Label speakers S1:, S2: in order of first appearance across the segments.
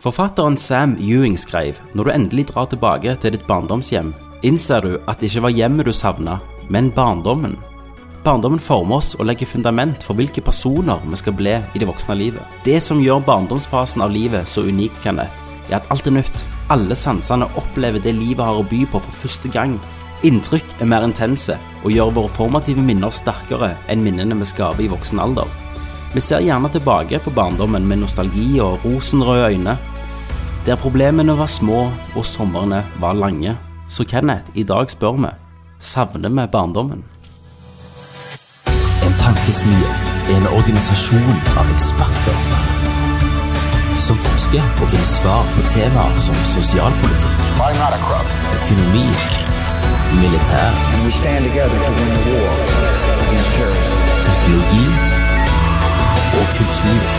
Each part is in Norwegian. S1: Forfatteren Sam Ewing skrev Når du endelig drar tilbake til ditt barndomshjem, innser du at det ikke var hjemmet du savna, men barndommen. Barndommen former oss og legger fundament for hvilke personer vi skal bli i det voksne livet. Det som gjør barndomsfasen av livet så unikt, Kenneth, er at alt er nytt. Alle sansene opplever det livet har å by på for første gang. Inntrykk er mer intense og gjør våre formative minner sterkere enn minnene vi skaper i voksen alder. Vi ser gjerne tilbake på barndommen med nostalgi og rosenrøde øyne, der problemene var små og somrene var lange. Så Kenneth, i dag spør vi savner vi barndommen.
S2: En tankesmie er en organisasjon av eksperter som forsker og finner svar på temaer som sosialpolitikk,
S3: I'm not a crook.
S2: økonomi, militær,
S4: we stand together to win the war against terrorism.
S2: teknologi og kultur.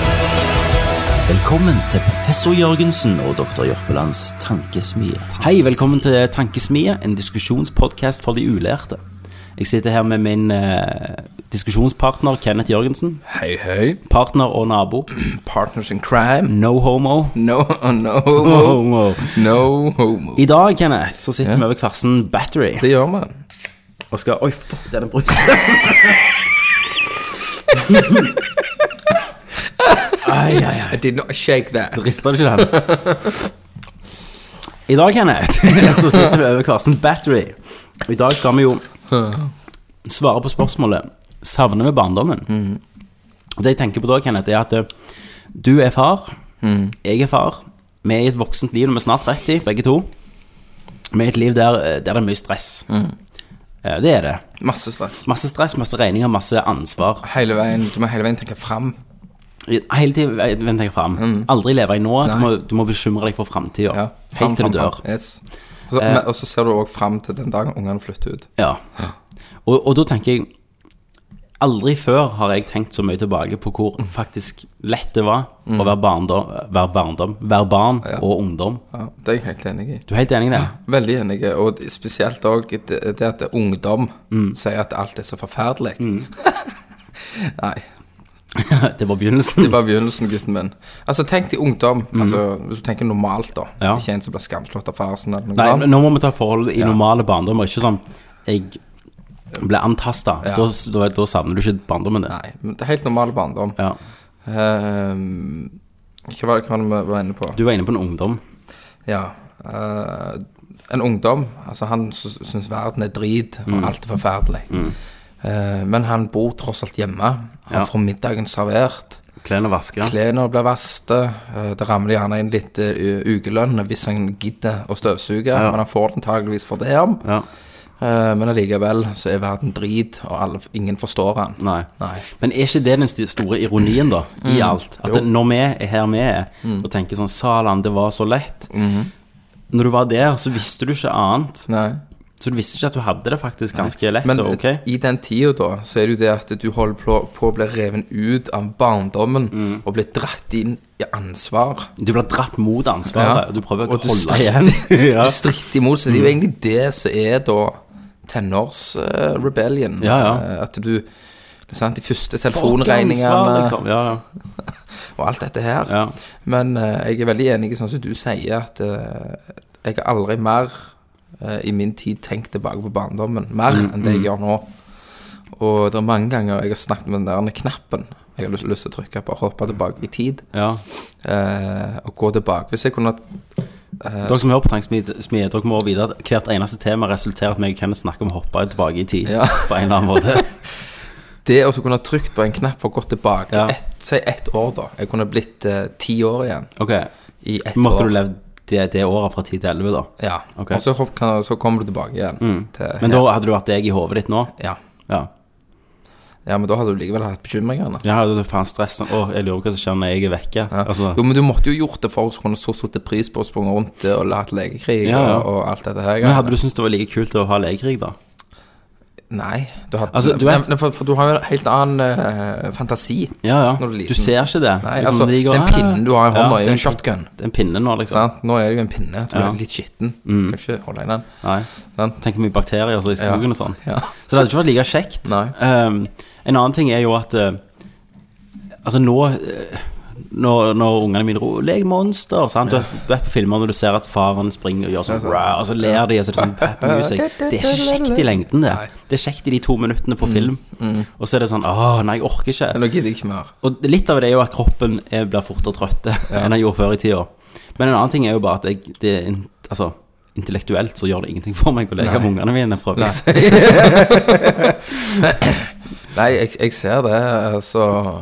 S2: Velkommen til professor Jørgensen og doktor Jørpelands tankesmie.
S1: Hei, velkommen til Tankesmie, en diskusjonspodkast for de ulærte. Jeg sitter her med min eh, diskusjonspartner Kenneth Jørgensen.
S5: Hei, hei.
S1: Partner og nabo.
S5: Partners in crime.
S1: No homo.
S5: No, no homo.
S1: homo.
S5: No homo.
S1: I dag, Kenneth, så sitter
S5: Ja.
S1: vi over kvarsen Battery
S5: Det gjør man.
S1: og skal Oi, fuck, det er den brusen. ai, ai, ai.
S5: I did not shake that.
S1: Rister det ikke den? I dag, Kenneth, så sitter vi over kvarsen Battery. Og I dag skal vi jo svare på spørsmålet Savner vi barndommen?
S5: Mm.
S1: Og Det jeg tenker på da, Kenneth, er at eh, du er far,
S5: Mm.
S1: jeg er far. Vi er i et voksent liv, vi er snart 30, begge to. Vi er i et liv der, eh, der det er mye stress.
S5: Mm.
S1: Eh, Det er det.
S5: Masse stress.
S1: Masse stress, masse regninger, masse ansvar.
S5: Hele veien, du må hele veien tenke fram.
S1: Hele tiden eh, vend deg fram. Aldri leve i nå. Du
S5: Mm. Nei.
S1: må, du må bekymre deg for framtida.
S5: Ja. Fram,
S1: Helt til
S5: fram,
S1: du dør. Eh.
S5: fram. Yes. Og så- men- Og så ser du også fram til den dagen ungene flytter ut.
S1: Ja. Og, og da tenker jeg Aldri før har jeg tenkt så mye tilbake på hvor faktisk lett det var å være barndom, være, barndom, være barn
S5: Mm. Ja.
S1: og ungdom.
S5: Ja, det er jeg helt enig i.
S1: Du er helt enig i det?
S5: Veldig enig, og det- spesielt òg det, det at det er ungdom
S1: Mm.
S5: sier at alt er så forferdelig. Nei,
S1: Det var begynnelsen.
S5: det var begynnelsen, gutten min. Altså, tenk til ungdom. Altså, hvis du tenker normalt, da.
S1: Mm. Ja.
S5: Ikke en som blir skamslått av faren sin, eller noe
S1: Nei,
S5: sånt.
S1: nå må vi ta forholdet i normale barndommer. Ikke sånn jeg ble antasta.
S5: Ja.
S1: Da, da, da savner du ikke barndommen din.
S5: Nei, men det er helt normal barndom.
S1: Ja.
S5: Ehm, hva, var det, hva var det vi var inne på?
S1: Du var inne på en ungdom.
S5: Ja. eh, en ungdom. Altså, han sy- syns verden er drit,
S1: Mm.
S5: og alt er forferdelig. Eh, men han bor tross alt hjemme. Han
S1: Ja.
S5: får middagen servert.
S1: Klærne vaska.
S5: Klærne blir vasket. eh, det ramler gjerne inn litt eh, ukelønn hvis han gidder å støvsuge.
S1: Ja.
S5: Men han får den antageligvis for det om.
S1: Ja.
S5: Eh, men allikevel så er verden drit, og alle, ingen forstår han.
S1: Nei.
S5: Nei. Mm.
S1: Men er ikke det den st- store ironien, da, i alt? At
S5: Jo. Mm.
S1: når vi er her vi er, og tenker sånn Salan, det var så lett.
S5: Mm-hmm.
S1: Når du var der, så visste du ikke annet.
S5: Nei.
S1: Så du visste ikke at du hadde det faktisk ganske lett.
S5: Men
S1: og ok?
S5: i den tida, da, så er det jo det at du holder på, på å bli reven ut av barndommen
S1: Mm.
S5: og blir dratt inn i ansvar.
S1: Du blir dratt mot ansvaret.
S5: Ja.
S1: og Du prøver å
S5: Og du
S1: holde igjen.
S5: stritter-
S1: ja. Mm.
S5: Du stritter imot, så det er jo egentlig det som er da tenårsrebellion. Eh,
S1: Ja, ja.
S5: At du ikke sant, De første
S1: Folk har ansvar,
S5: telefonregningene
S1: liksom. Ja, ja.
S5: og alt dette her.
S1: Ja.
S5: Men eh, jeg er veldig enig i sånn som du sier, at eh, jeg har aldri mer eh, i min tid tenkt tilbake på barndommen. Mer
S1: Mm,
S5: enn det jeg gjør nå. Og det er mange ganger jeg har snakket med den der knappen jeg har lyst, lyst til å trykke på. Hoppe tilbake i tid
S1: ja.
S5: eh, og gå tilbake. Hvis jeg kunne
S1: Dere som hører på Tanksmie, dere må vite at hvert eneste tema resulterer i at vi kan snakke om å hoppe tilbake i tid.
S5: Ja.
S1: På en eller annen måte.
S5: Det å så kunne trykt på en knapp for å gå tilbake
S1: Ja.
S5: ett, Si ett år, da. Jeg kunne blitt eh, ti år igjen
S1: Ok,
S5: i ett
S1: Måtte
S5: år.
S1: du levd det, det året fra 10 til 11, da?
S5: Ja.
S1: Ok. Mm.
S5: Og så, hopp- kan, så kommer du tilbake igjen. Til,
S1: Men da hadde du hatt deg i hodet ditt nå?
S5: ja.
S1: Ja.
S5: ja, men da hadde du likevel hatt bekymringene.
S1: Jeg hadde faen stress. Å, jeg lurer på hva som skjer når jeg er vekke.
S5: Ja.
S1: Altså,
S5: jo, men du måtte jo gjort det for å kunne så satt pris på å sprunge rundt det og lært legekrig
S1: Ja, ja.
S5: Og, og alt dette her.
S1: men hadde du syntes det var like kult å ha lekekrig, da?
S5: Nei, du hadde,
S1: Altså, du
S5: nei,
S1: vet-
S5: nei, for, for du har jo en helt annen eh, fantasi.
S1: Ja, ja.
S5: Når du er liten.
S1: Du ser ikke det.
S5: Nei,
S1: Liksom,
S5: altså,
S1: det ligger-
S5: den
S1: Ah.
S5: pinnen du har i
S1: Ja,
S5: hånda, er
S1: den-
S5: jo en shotgun.
S1: Det er en pinne nå, liksom.
S5: Sant? Nå er det jo en pinne. Du
S1: Ja. Mm.
S5: er litt skitten. Kan ikke holde i den.
S1: Nei.
S5: Sant?
S1: Tenk mye bakterier altså, i skogen og sånn.
S5: Ja.
S1: Så det hadde ikke vært like kjekt.
S5: Nei.
S1: Ehm, en annen ting er jo at eh, Altså, nå eh, når, når ungene mine roper 'lek monster'. Sant? Du vet- du vet på filmer når du ser at faren springer og gjør sånn, «Rah», og så ler de, og så er det sånn happy music. Det er ikke kjekt i lengden, det.
S5: Nei.
S1: Det er kjekt i de to minuttene på film, og så er det sånn 'Å, nei, jeg orker ikke'.
S5: Men nå gidder jeg ikke mer.
S1: Og litt av det er jo at kroppen er, blir fortere trøtt enn den gjorde før i tida. Men en annen ting er jo bare at jeg, det, er in- altså, intellektuelt så gjør det ingenting for meg å leke med ungene mine. prøver jeg å si.
S5: Nei, jeg, jeg ser det, så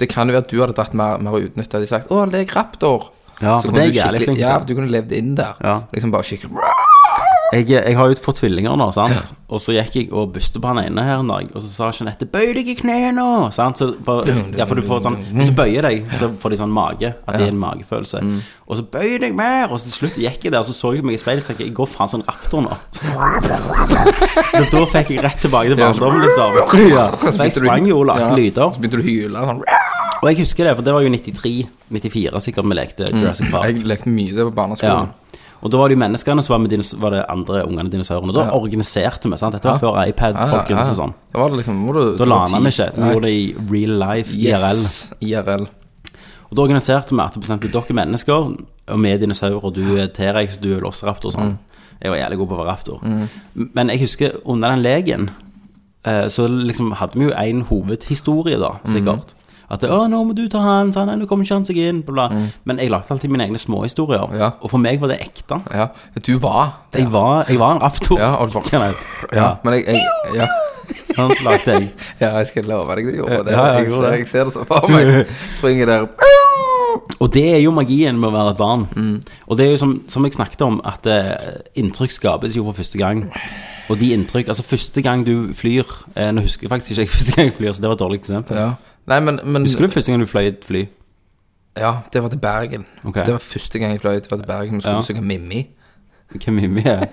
S5: Det kan jo være at du hadde dratt mer, mer og utnytta de sagt 'Å, lek raptor'.
S1: Ja,
S5: Så
S1: for
S5: kunne
S1: det er jeg
S5: du
S1: jævlig
S5: skikkelig-
S1: flink
S5: Ja,
S1: til.
S5: du kunne levd inn der.
S1: Ja.
S5: Liksom bare skikkelig
S1: Jeg, eh, jeg har jo fått tvillinger nå, sant. Og så gikk jeg og buste på han ene her en dag, og så sa Jeanette 'bøy deg i kneet nå'. Sant? Så for, ja, for du får sånn Hvis du bøyer deg, så får de sånn mage. At det er en magefølelse. Og så bøy deg mer, og så til slutt gikk jeg der, og så så jeg meg i speilet og tenkte jeg, 'jeg går faen sånn raptor nå'. Så da fikk jeg rett tilbake til barndommen, liksom. Ja. Så jeg sprang jo og lagde lyder.
S5: Så begynte du å hyle sånn
S1: Og jeg husker det, for det var jo 93-94 sikkert vi lekte Jurassic Park.
S5: Jeg lekte mye det på
S1: Ja.
S5: barneskolen.
S1: Og da var det jo menneskene som var med dinos var det andre ungene dinosaurene. Da organiserte vi, sant. Dette var før iPad,
S5: Ja, ja,
S1: folkens og
S5: ja.
S1: sånn.
S5: Da var det liksom må du,
S1: Da
S5: det var
S1: lana vi ikke.
S5: tid.
S1: Vi gjorde det i real life, IRL.
S5: Yes, IRL.
S1: Og da organiserte vi at bestemte dere er mennesker, og vi er dinosaurer, og du er T-rex, du er losseraptor og
S5: Mm.
S1: sånn. Jeg var jævlig god på å være raptor. Men jeg husker under den legen, eh, så liksom hadde vi jo en hovedhistorie, da,
S5: Mm.
S1: sikkert. At det, 'Å, nå må du ta han, ta han, nå kommer ikke han seg inn', bla, bla. Men jeg lagde alltid mine egne småhistorier,
S5: Mm. Ja.
S1: og for meg var det ekte.
S5: Ja. Du var
S1: Jeg var, jeg var en raptor.
S5: Ja, og du var-
S1: Kan jeg-
S5: Ja.
S1: ja,
S5: Men jeg, jeg ja.
S1: sånn lagde jeg.
S5: ja, jeg skal love deg det. Jo, det
S1: Ja, ja,
S5: jeg,
S1: jeg gjorde
S5: ser,
S1: det.
S5: jeg ser det så for meg. Springer der
S1: Og det er jo magien med å være et barn. Og det er jo som, som jeg snakket om, at eh, inntrykk skapes jo for første gang. Og de inntrykk Altså, første gang du flyr eh, Nå husker jeg faktisk ikke jeg første gang jeg flyr, så det var et dårlig eksempel.
S5: Ja. Nei, men, men
S1: Husker du første gang du fløy et fly?
S5: Ja, det var til Bergen.
S1: Ok.
S5: Det var første gang jeg fløy. Det var til Bergen. Vi skulle
S1: Ja.
S5: besøke Mimmi.
S1: Hvem er med?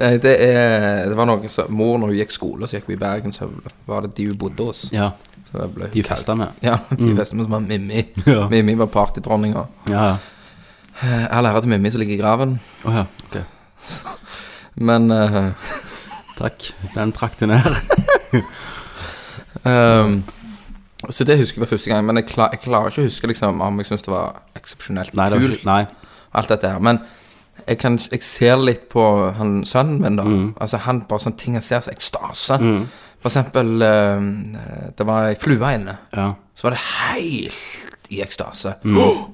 S5: Eh, Det, er, det var noen som Mor, når hun gikk skole, så gikk hun i Bergen, så var det de hun bodde hos.
S1: Ja.
S5: Så jeg ble,
S1: De festa med.
S5: Ja, de festa med som var Mimmi.
S1: Mm. Ja.
S5: Mimmi var partydronninga.
S1: Ja, ja.
S5: Eh, All ære til Mimmi som ligger i graven,
S1: Å ja. Ok.
S5: men eh,
S1: Takk. Den trakk du ned.
S5: ehm, Så det husker jeg var første gang, men jeg, klar, jeg klarer ikke å huske liksom, om jeg syns det var eksepsjonelt
S1: Nei, det var
S5: kult.
S1: ikke Nei.
S5: alt dette her. Men jeg, kan, jeg ser litt på han sønnen min, da.
S1: Mm.
S5: Altså han bare sånne ting han ser som ekstase. For eksempel eh, Det var ei flue inne.
S1: Ja.
S5: Så var det helt i ekstase. Åh,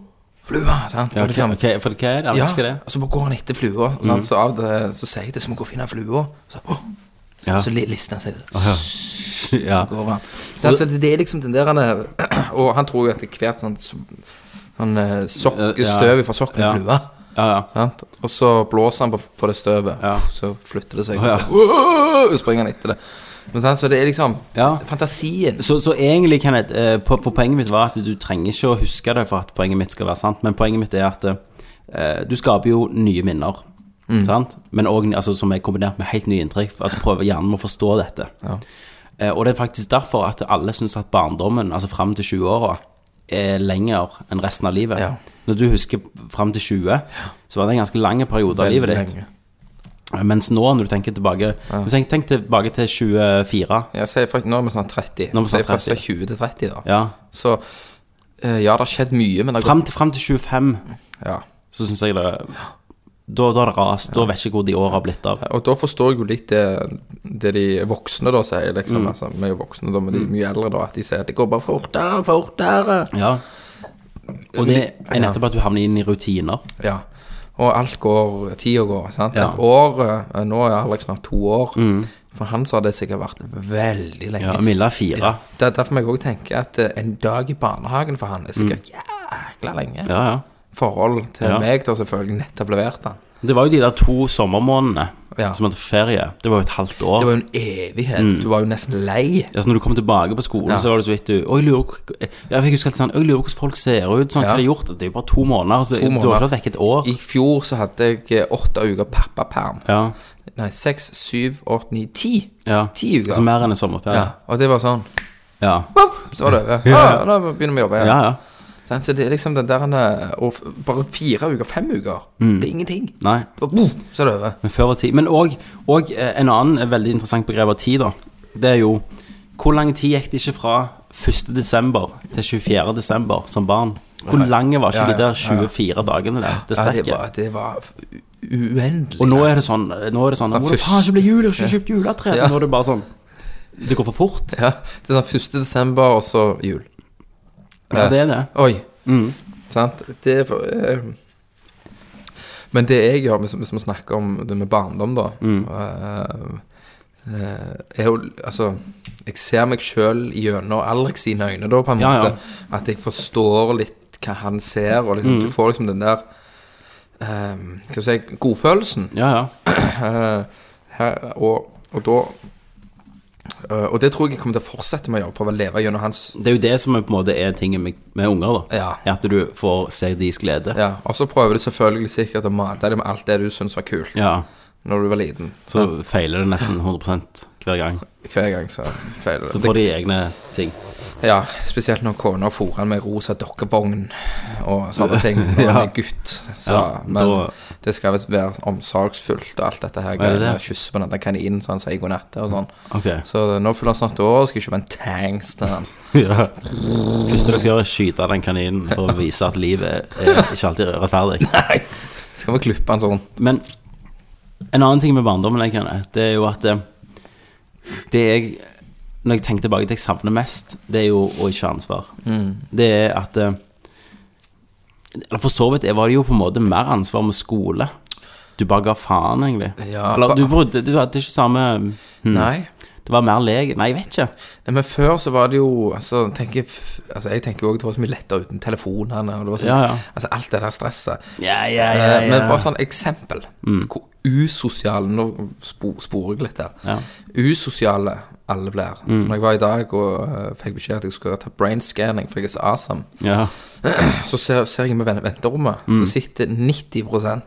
S5: Flua! Sant?
S1: Mm. ja
S5: Og
S1: ok,
S5: liksom-
S1: ok, for hva er det? Jeg
S5: ja,
S1: husker det. Mm.
S5: og så bare går han etter flua. Sant? Så av det så sier jeg det, så må jeg gå og finne flua. Så, åh,
S1: Ja.
S5: så li- lister han seg.
S1: ja.
S5: Går han. Så altså, det, det er liksom den der han er, Og han tror jo etter hvert sånn Han eh,
S1: Ja.
S5: sokkestøv fra sokken i
S1: Ja.
S5: flua.
S1: Ja, ja.
S5: Sant? Og så blåser han på, på det støvet,
S1: Ja.
S5: så flytter det seg.
S1: Å, ja.
S5: Og så, «Åh!» og springer han etter det. Men sant? Så det er liksom
S1: Ja.
S5: fantasien.
S1: Så, så egentlig, Kenneth, eh, på- for poenget mitt var at du trenger ikke å huske det for at poenget mitt skal være sant, men poenget mitt er at eh, du skaper jo nye minner,
S5: Mm.
S1: sant? Men også, altså, som er kombinert med helt nye inntrykk, for at du prøver hjernen med å forstå dette. Eh, og det er faktisk derfor at alle syns at barndommen, altså fram til 20-åra, er lenger enn resten av livet.
S5: Ja.
S1: Når du husker fram til 20, så var det en ganske lang periode av livet ditt. Eh,
S5: Lenge.
S1: Mens nå, når du tenker tilbake du tenk, tenk tilbake til 24.
S5: Ja, si fra, nå er vi snart 30.
S1: Nå er vi snart
S5: Si fra
S1: 30, ja.
S5: 20 til 30, da.
S1: Ja.
S5: Så eh, ja, det har skjedd mye, men det har
S1: Fram til, fram til 25
S5: gått ja.
S1: så syns jeg det Da, da er det ras. Da vet jeg ikke hvor de åra har blitt av.
S5: Og da forstår jeg jo litt det, det de voksne da sier, liksom.
S1: Mm.
S5: Altså, vi er jo voksne, da, men de er mye eldre, da. At de sier at det går bare fortere, fortere.
S1: Ja. Og det er nettopp at du havner inn i rutiner.
S5: Ja. Og alt går, tida går, sant.
S1: Ja. Mm.
S5: Et år eh, Nå er Alex snart to år. For han så har det sikkert vært veldig lenge.
S1: Ja, Milla er fire.
S5: Det er derfor jeg òg tenker at eh, en dag i barnehagen for han er sikkert jækla lenge.
S1: Ja, ja.
S5: Forhold til
S1: Mm. Ja.
S5: meg, da selvfølgelig nettopp leverte han.
S1: Det var jo de der to sommermånedene
S5: Ja.
S1: som hadde ferie. Det var jo et halvt år.
S5: Det var jo en evighet.
S1: Mm.
S5: Du var jo nesten lei.
S1: Ja, så når du kom tilbake på skolen,
S5: Ja.
S1: så var det så vidt du «Å, jeg lurer, hvor- ja, Jeg husker helt sånn «Å, Jeg lurer hvordan folk ser ut. Sånn,
S5: Ja.
S1: Hva har de gjort? Det er jo bare to måneder. Så
S5: To
S1: Du har
S5: måneder.
S1: ikke vært vekk et år.
S5: I fjor så hadde jeg eh, åtte uker pappaperm.
S1: Ja.
S5: Nei, seks, syv, åtte, ni, ti.
S1: ja.
S5: Ti uker.
S1: Altså mer enn en
S5: Ja.
S1: sommerferie.
S5: Og det var sånn
S1: Ja.
S5: pop, Så var det over. Ah, nå begynner vi å jobbe
S1: Ja,
S5: igjen.
S1: ja.
S5: Sant, Så det er liksom den der han er- og f- Bare fire uker, fem uker.
S1: Mm.
S5: Det er ingenting.
S1: Nei.
S5: Bare boom, så er det over.
S1: Men før var tid. Men eh, òg en annen veldig interessant begrep av tid, da. Det er jo hvor lang tid gikk det ikke fra 1. desember til 24. desember som barn. Hvor lange var ikke
S5: Ja, ja,
S1: de der
S5: ja, ja.
S1: 24 dagene der? Det
S5: Ja, det
S1: strekket.
S5: var, det var u- uendelig.
S1: Og nå er det sånn Nå er det sånn
S5: Så
S1: Nå må det
S5: først-
S1: faen ikke bli jul, jeg har ikke kjøpt juletre.
S5: Ja.
S1: Nå er det bare sånn Det går for fort.
S5: Ja, det er sånn 1. desember, og så jul.
S1: Ja, det er det.
S5: Oi.
S1: Mm.
S5: Sant? Det er for, eh, Men det jeg gjør, hvis hvis vi snakker om det med barndom, da
S1: Mm.
S5: eh, eh, Er jo Altså, jeg ser meg sjøl gjennom Alex sine øyne, da, på en
S1: Ja, ja.
S5: måte. At jeg forstår litt hva han ser, og
S1: Mm.
S5: liksom, du får liksom den der eh, Hva skal jeg si Godfølelsen.
S1: Ja, ja.
S5: Eh, her, og, og da eh, Og det tror jeg jeg kommer til å fortsette med å gjøre, prøve å leve gjennom hans
S1: Det er jo det som er, på en måte er tingen med, med unger, da.
S5: Ja.
S1: Er At du får se deres glede.
S5: Ja, og så prøver du selvfølgelig sikkert å mate deg med alt det du syns var kult
S1: Ja.
S5: Når du var liten.
S1: Så feiler det nesten 100 hver gang.
S5: Hver gang så feiler
S1: Så
S5: det.
S1: får de egne ting.
S5: Ja, spesielt når kona fôrer han med rosa dokkevogn og sånne ting. Når
S1: Ja.
S5: han er gutt. Så,
S1: Ja,
S5: men
S1: da-
S5: det skal visst være omsorgsfullt og alt dette her.
S1: det det?
S5: greiene, Kysse på denne kaninen så han sier god natt og sånn.
S1: Ok.
S5: Så nå fyller han snart år, skal jeg kjøpe en tanks til han.
S1: Ja. Første du skal gjøre, er å skyte den kaninen for å vise at livet er ikke alltid rettferdig.
S5: Nei! Skal vi klippe han sånn?
S1: Men en annen ting med barndommen jeg kjenner, det er jo at eh, det jeg Når jeg tenker tilbake det jeg savner mest, det er jo å ikke ha ansvar.
S5: Mm.
S1: Det er at eh, Eller for så vidt var det jo på en måte mer ansvar med skole. Du bare ga faen, egentlig.
S5: Ja,
S1: Eller
S5: ba-
S1: du, brydde- du hadde ikke samme hmm,
S5: Nei.
S1: Det var mer lek Nei, jeg vet ikke.
S5: Nei, Men før så var det jo altså, tenker, jeg- altså Jeg tenker jo også det var så mye lettere uten telefonene. Og det var sånn,
S1: Ja, ja.
S5: Altså alt det der stresset.
S1: Ja, ja, ja,
S5: Eh,
S1: ja. Mm.
S5: Men bare sånn eksempel. Hvor usosiale Nå spo- sporer jeg litt her.
S1: Ja. Mm.
S5: Usosiale alle blir. Når jeg var i dag og eh, fikk beskjed at jeg skulle ta brain scanning, for jeg er så awesome,
S1: ja.
S5: så ser, ser jeg med ven- venterommet, så sitter 90 med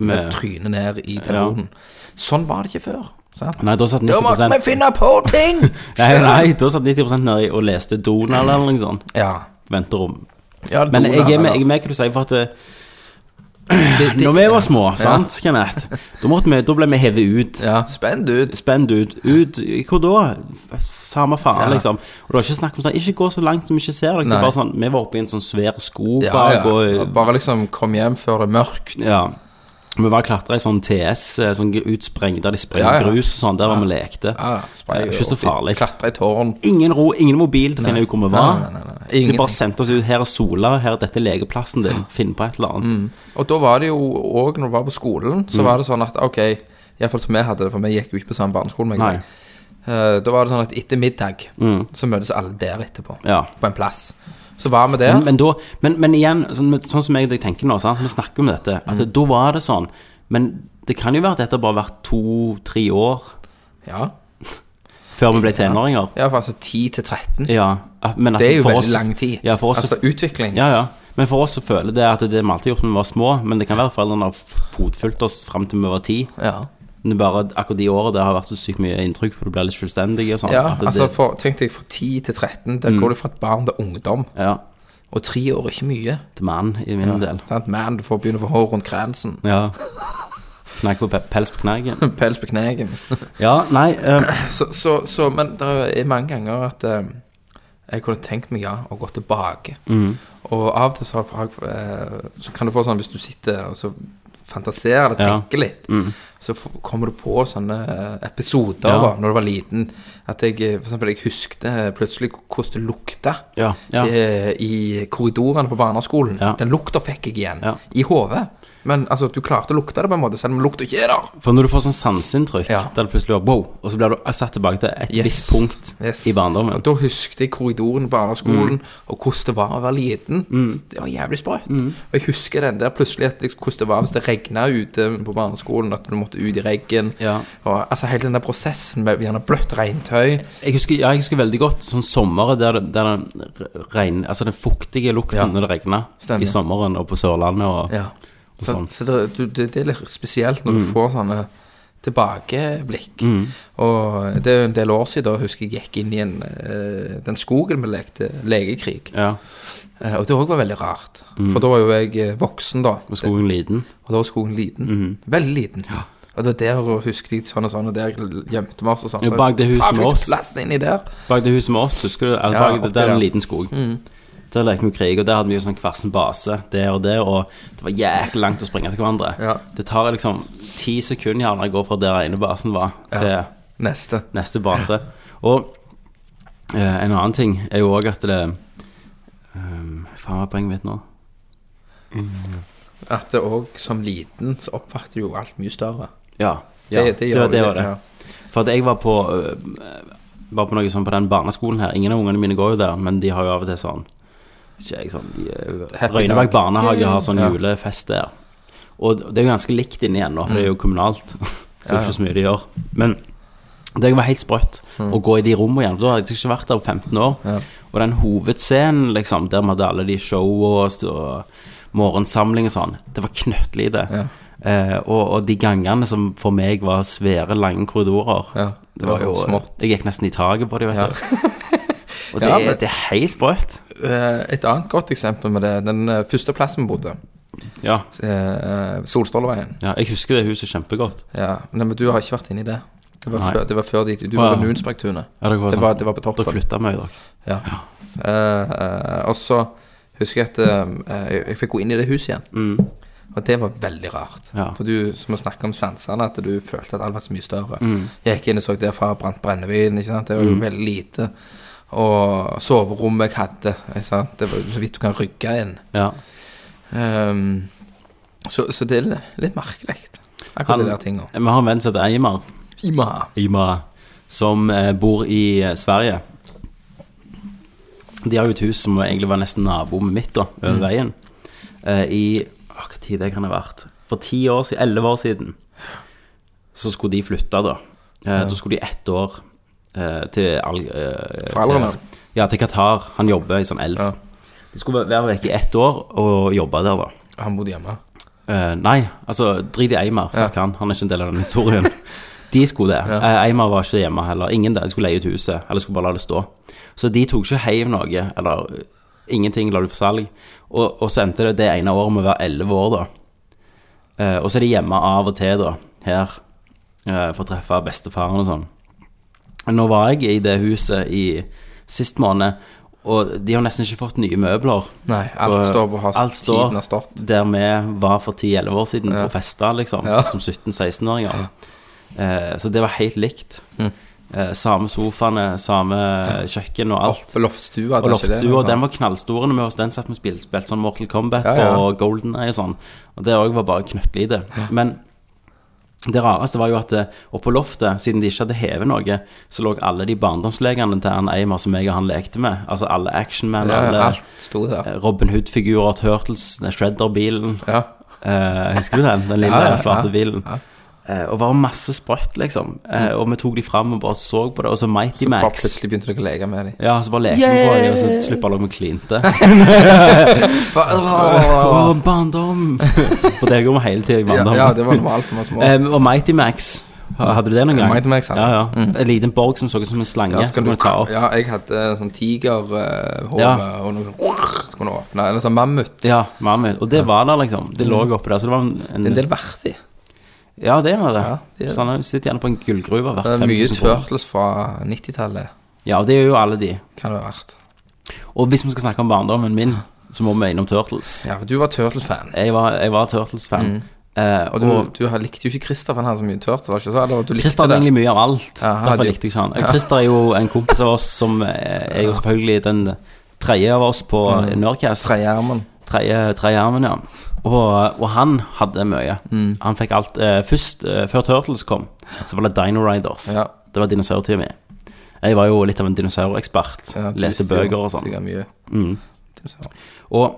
S1: Mm. Med,
S5: trynet ned i telefonen. Sånn var det ikke før. Sant?
S1: nei, da satt
S5: Da måtte
S1: 90
S5: vi finne på ting!
S1: Nei, nei, da satt 90 nedi og leste Donald eller noe sånt.
S5: Ja.
S1: Venterom.
S5: ja
S1: Men
S5: Donald,
S1: jeg er med,
S5: eller-
S1: jeg er med hva du sier, for at eh,
S5: Det- det-
S1: når vi var små, sant, Kenneth, da, måtte vi, da ble vi hevet ut.
S5: Ja. Spent ut.
S1: Spent ut. Ut Hvor da? Samme faen,
S5: Ja.
S1: liksom. Og det var ikke snakk om sånn Ikke gå så langt som vi ikke ser deg. Det
S5: Nei.
S1: var bare sånn Vi var oppe i en sånn svær skog
S5: Ja,
S1: bak,
S5: ja.
S1: og
S5: Bare liksom kom hjem før det er mørkt.
S1: Ja. Vi var klatra i sånn TS, eh, sånn utspreng, der de
S5: Ja,
S1: sprenger
S5: ja.
S1: grus og sånn. Der var vi lekte.
S5: Ja, spray
S1: Det er ikke så
S5: og fint.
S1: farlig.
S5: Klatre i tårn.
S1: Ingen ro, ingen mobil til å finne ut hvor vi var.
S5: Nei, nei, nei, nei.
S1: De
S5: Ingen.
S1: bare sendte oss ut. Her er Sola, her er dette legeplassen din. Finn på et eller annet.
S5: Mm. Og da var det jo òg, når du var på skolen,
S1: Mm.
S5: så var det sånn at ok Iallfall som vi hadde det, for vi gikk jo ikke på samme barneskole. Men
S1: Nei. Mm.
S5: da var det sånn at etter middag så møtes alle der etterpå.
S1: Ja.
S5: På en plass. Så var vi der.
S1: Men, men, da, men, men igjen, sånn, sånn som jeg og deg tenker nå, sant? vi snakker om dette, at
S5: Mm.
S1: da var det sånn. Men det kan jo være at dette bare har vært to-tre år
S5: ja.
S1: før vi ble tenåringer.
S5: ja, for altså 10 til 13.
S1: Ja, at- men at
S5: Det er jo
S1: for
S5: veldig
S1: oss-
S5: lang tid.
S1: Ja, for oss
S5: altså utviklings...
S1: ja, ja. Men for oss så føler det at det vi alltid har gjort når vi var små, men det kan være foreldrene har f- fotfulgt oss fram til vi var ti.
S5: ja.
S1: Men det er bare at akkurat de årene det har vært så sykt mye inntrykk, for du blir litt selvstendig og sånn.
S5: Ja,
S1: at det- Mm.
S5: altså for, tenk deg fra 10 til 13, der går du fra et barn til ungdom.
S1: ja,
S5: Og tre år er ikke mye.
S1: til mann, i min del.
S5: Sant? Man, du får begynne å få hår rundt kransen.
S1: Ja. Knagg på pe- pels på knaggen.
S5: Pels på knegen.
S1: Ja, nei eh,
S5: så, så, så, men det er mange ganger at eh, jeg kunne tenkt meg ja, å gå tilbake.
S1: Mm.
S5: Og av og til så, har fag, eh, så kan du få sånn hvis du sitter og så fantaserer eller
S1: Ja. Mm.
S5: tenker litt, så f- kommer du på sånne eh, episoder
S1: Ja.
S5: da når du var liten. At jeg eh, for eksempel, jeg husket eh, plutselig hvordan det lukta.
S1: Ja, ja.
S5: eh, I korridorene på barneskolen.
S1: Ja.
S5: Den lukta fikk jeg igjen.
S1: Ja.
S5: I hodet. Men altså, du klarte å lukte det på en måte, selv om lukta ikke er der.
S1: For når du får sånn sanseinntrykk,
S5: Ja.
S1: der det plutselig var wow, og så blir du satt tilbake til et
S5: Yes.
S1: visst punkt
S5: Yes.
S1: i barndommen. Mm.
S5: Og da husket jeg korridoren på barneskolen, og hvordan det var å være liten. Det var jævlig sprøtt.
S1: Mm.
S5: Og jeg husker den der plutselig at jeg, hvordan det var hvis det regna ute på barneskolen, at du måtte ut i regn.
S1: Ja.
S5: Og altså hele den der prosessen med gjerne bløtt regntøy.
S1: Jeg husker, ja, jeg husker veldig godt sånn sommeren der, det- der den, re- regn, altså den fuktige lukten
S5: Ja.
S1: når det regner.
S5: Stemmer.
S1: I sommeren og på Sørlandet og
S5: Ja. Så,
S1: sånn. Mm.
S5: så det, du, det, det er litt spesielt når du får sånne tilbakeblikk. Og det er jo en del år siden da husker jeg gikk inn i en, eh, den skogen vi lekte legekrig.
S1: Ja. Mm.
S5: Eh, Og det òg var veldig rart. For da var jo jeg eh, voksen, da.
S1: Med skogen liten. Mhm.
S5: Og da var skogen liten. Veldig liten. Og det der og husket jeg sånn og sånn, og der gjemte vi oss og sånn.
S1: Ja,
S5: Så
S1: bak det huset
S5: faen,
S1: med
S5: fikk du
S1: oss.
S5: Plass inni der.
S1: Bak det huset med oss, husker du? Altså,
S5: Ja,
S1: bak
S5: oppi
S1: det, der Mm. er
S5: der.
S1: en liten skog. Der lekte vi krig, og der hadde vi jo sånn hver sin base der og der, og det var jæklig langt å springe til hverandre.
S5: Ja.
S1: Det tar liksom ti sekunder gjerne å gå fra der ene basen var, til
S5: Neste.
S1: neste base. Og eh, en annen ting er jo òg at det um, Faen, hva er poenget mitt nå?
S5: At det òg som liten så oppfatter du jo alt mye større.
S1: Ja. ja
S5: det,
S1: var-
S5: gjør du,
S1: det var det.
S5: Ja.
S1: For at jeg var på øh, Var på noe sånn på den barneskolen her Ingen av ungene mine går jo der, men de har jo av og til sånn Ikke jeg sånn øh,
S5: Happy
S1: Røyneberg
S5: dag.
S1: barnehage har sånn
S5: Ja.
S1: julefest der Og det er jo ganske likt inne igjen nå For det er jo kommunalt Så det er
S5: Mm. Ja, Mm. ja.
S1: ikke så mye de gjør Men det var helt sprøtt Å gå i de rommene igjen for Da hadde jeg ikke vært der på 15 år
S5: Ja.
S1: Og den hovedscenen liksom Der vi hadde alle de showene og, st- og morgensamling og sånn Det var knøttelig det
S5: Ja.
S1: eh, og, og de gangene som for meg var svære lange korridorer
S5: Ja,
S1: det var jo eh,
S5: smått.
S1: Jeg gikk nesten i taket på dem, vet
S5: Ja.
S1: du. Og det,
S5: Ja,
S1: er-
S5: men-
S1: det er helt sprøtt.
S5: Eh, Et annet godt eksempel med det, den eh, første plassen vi bodde,
S1: Ja.
S5: eh, Solstolleveien.
S1: ja, jeg husker det huset kjempegodt.
S5: Ja. Nei, men du har ikke vært inni det. Det var,
S1: Nei.
S5: før, det var før dit. Du var
S1: Å,
S5: på
S1: ja.
S5: Nunsbergtunet.
S1: Ja, dere var
S5: Det
S1: sånn-
S5: var, det var på
S1: Dere
S5: toppen.
S1: flytta mye, dere.
S5: Ja. Eh, eh, og så husker jeg at eh, jeg, jeg fikk gå inn i det huset igjen. Og det var veldig rart.
S1: Mm. Ja.
S5: For du, som vi snakket om sansene, at du følte at alt var så mye større.
S1: Mm.
S5: Jeg gikk inn og så derfra brant brennevin. Ikke sant? Det var jo veldig lite. Og soverommet jeg hadde, ikke sant? det var jo så vidt du kan rygge inn.
S1: Ja.
S5: Ehm, så, så det er litt merkelig, akkurat
S1: Han-
S5: de der tinga.
S1: Vi har en venn som heter Eimar,
S5: Ima.
S1: Eimar, som eh, bor i eh, Sverige. De har jo et hus som egentlig var nesten nabo med mitt, da,
S5: Mm.
S1: over veien. Eh, I å, Hva tid det kan ha vært? For ti år siden, elleve år siden, så skulle de flytte, da. Eh, Da skulle de ett år eh, til Al... Eh,
S5: Foreldrene.
S1: til- Ja, til Qatar. Han jobber i sånn elf.
S5: Ja.
S1: De skulle være vekk i ett år og jobbe der, da.
S5: Han bodde hjemme.
S1: Eh, nei, altså, drit i Eimar. Fuck han. Han er ikke en del av den historien. De skulle det. Eh, Eimar var ikke hjemme heller. Ingen der. De skulle leie ut huset. Eller skulle bare la det stå. Så de tok ikke heiv noe, eller eh, ingenting, la det for salg. Og, og så endte det det ene året med å være elleve år, da. Eh, og så er de hjemme av og til, da, her, eh, for å treffe bestefaren og sånn. Nå var jeg i det huset i sist måned, og de har nesten ikke fått nye møbler.
S5: Nei, alt
S1: Og
S5: står på har-
S1: alt står
S5: tiden har stått.
S1: Der vi var for 10-11 år siden på festa, liksom,
S5: Ja.
S1: som 17-16-åringer. Eh, så det var helt likt.
S5: Mm.
S1: Eh, samme sofaene, samme kjøkken og alt.
S5: Oppe loftstua,
S1: Og
S5: det er ikke det?
S1: loftstua,
S5: noe
S1: den
S5: sånt?
S1: var knallstor når vi var- den satt vi og spilte, spilte sånn Mortal Kombat
S5: Ja, ja.
S1: og Golden Eye og sånn. Og det òg var bare knøttelig i det. Men det rareste var jo at eh, oppe på loftet, siden de ikke hadde hevet noe, så lå alle de barndomslegene til han Eimer som jeg og han lekte med. Altså alle Actionman,
S5: ja,
S1: alle
S5: ja, alt sto der.
S1: eh, Robin Hood-figurer, Turtles, den Shredder-bilen.
S5: Ja.
S1: Eh, husker du den? Den lille
S5: Ja, ja,
S1: svarte
S5: ja,
S1: bilen.
S5: ja. Mm.
S1: Eh, og bare masse sprøtt, liksom. Eh, og vi tok de fram og bare så på det. Og så Mighty
S5: Så bare
S1: Max.
S5: plutselig begynte dere å leke med dem.
S1: Ja, så bare lekte vi på dem, og så slipper alle å klinte. Å, barndom! For det går vi hele tida i barndom.
S5: Ja, det var normalt da vi var små.
S1: Eh, og Mighty Max. Hadde du det noen gang?
S5: Mighty Max hadde jeg. Mm.
S1: ja, ja. En liten borg som så ut som en slange.
S5: Ja, så
S1: som
S5: kan du,
S1: kunne ta opp.
S5: ja, jeg hadde sånn tigerhode
S1: Ja.
S5: og noe sånn Så kunne du åpne. Eller sånn mammut.
S1: Ja, mammut. Og det var der, liksom. Det lå oppe der. Så det var en, en,
S5: Mm. Det er en del verti.
S1: Ja, det var det.
S5: Ja, det er det.
S1: Så han sitter gjerne på en gullgruve
S5: Det
S1: verdt
S5: er mye
S1: 5000 kroner.
S5: turtles fra 90-tallet,
S1: Ja, og det er jo alle de.
S5: kan det ha vært.
S1: Og hvis vi skal snakke om barndommen min, så må vi innom Turtles.
S5: Ja, for du var Turtles-fan.
S1: Jeg var, jeg var Turtles-fan. Eh,
S5: Mm. Og du, du har- likte jo ikke Christer, for han hadde så mye Turtles, var det ikke så? Eller du likte
S1: Christer hadde
S5: det?
S1: egentlig mye av alt.
S5: Ja, han
S1: derfor
S5: hadde jo-
S1: likte jeg ikke han. Christer er jo en kompis av oss som eh, er jo selvfølgelig den tredje av oss på
S5: Mm.
S1: Nerdcast.
S5: Trejermen.
S1: Tredje trejermen, ja. Og, og han hadde mye.
S5: Mm.
S1: Han fikk alt. Eh, først, eh, før Turtles kom, så var det Dino Riders.
S5: Ja.
S1: Det var dinosaurtida mi. Jeg var jo litt av en dinosaurekspert.
S5: Ja, du
S1: Leste
S5: visste jo
S1: bøker og sånn.
S5: sikkert mye.
S1: Og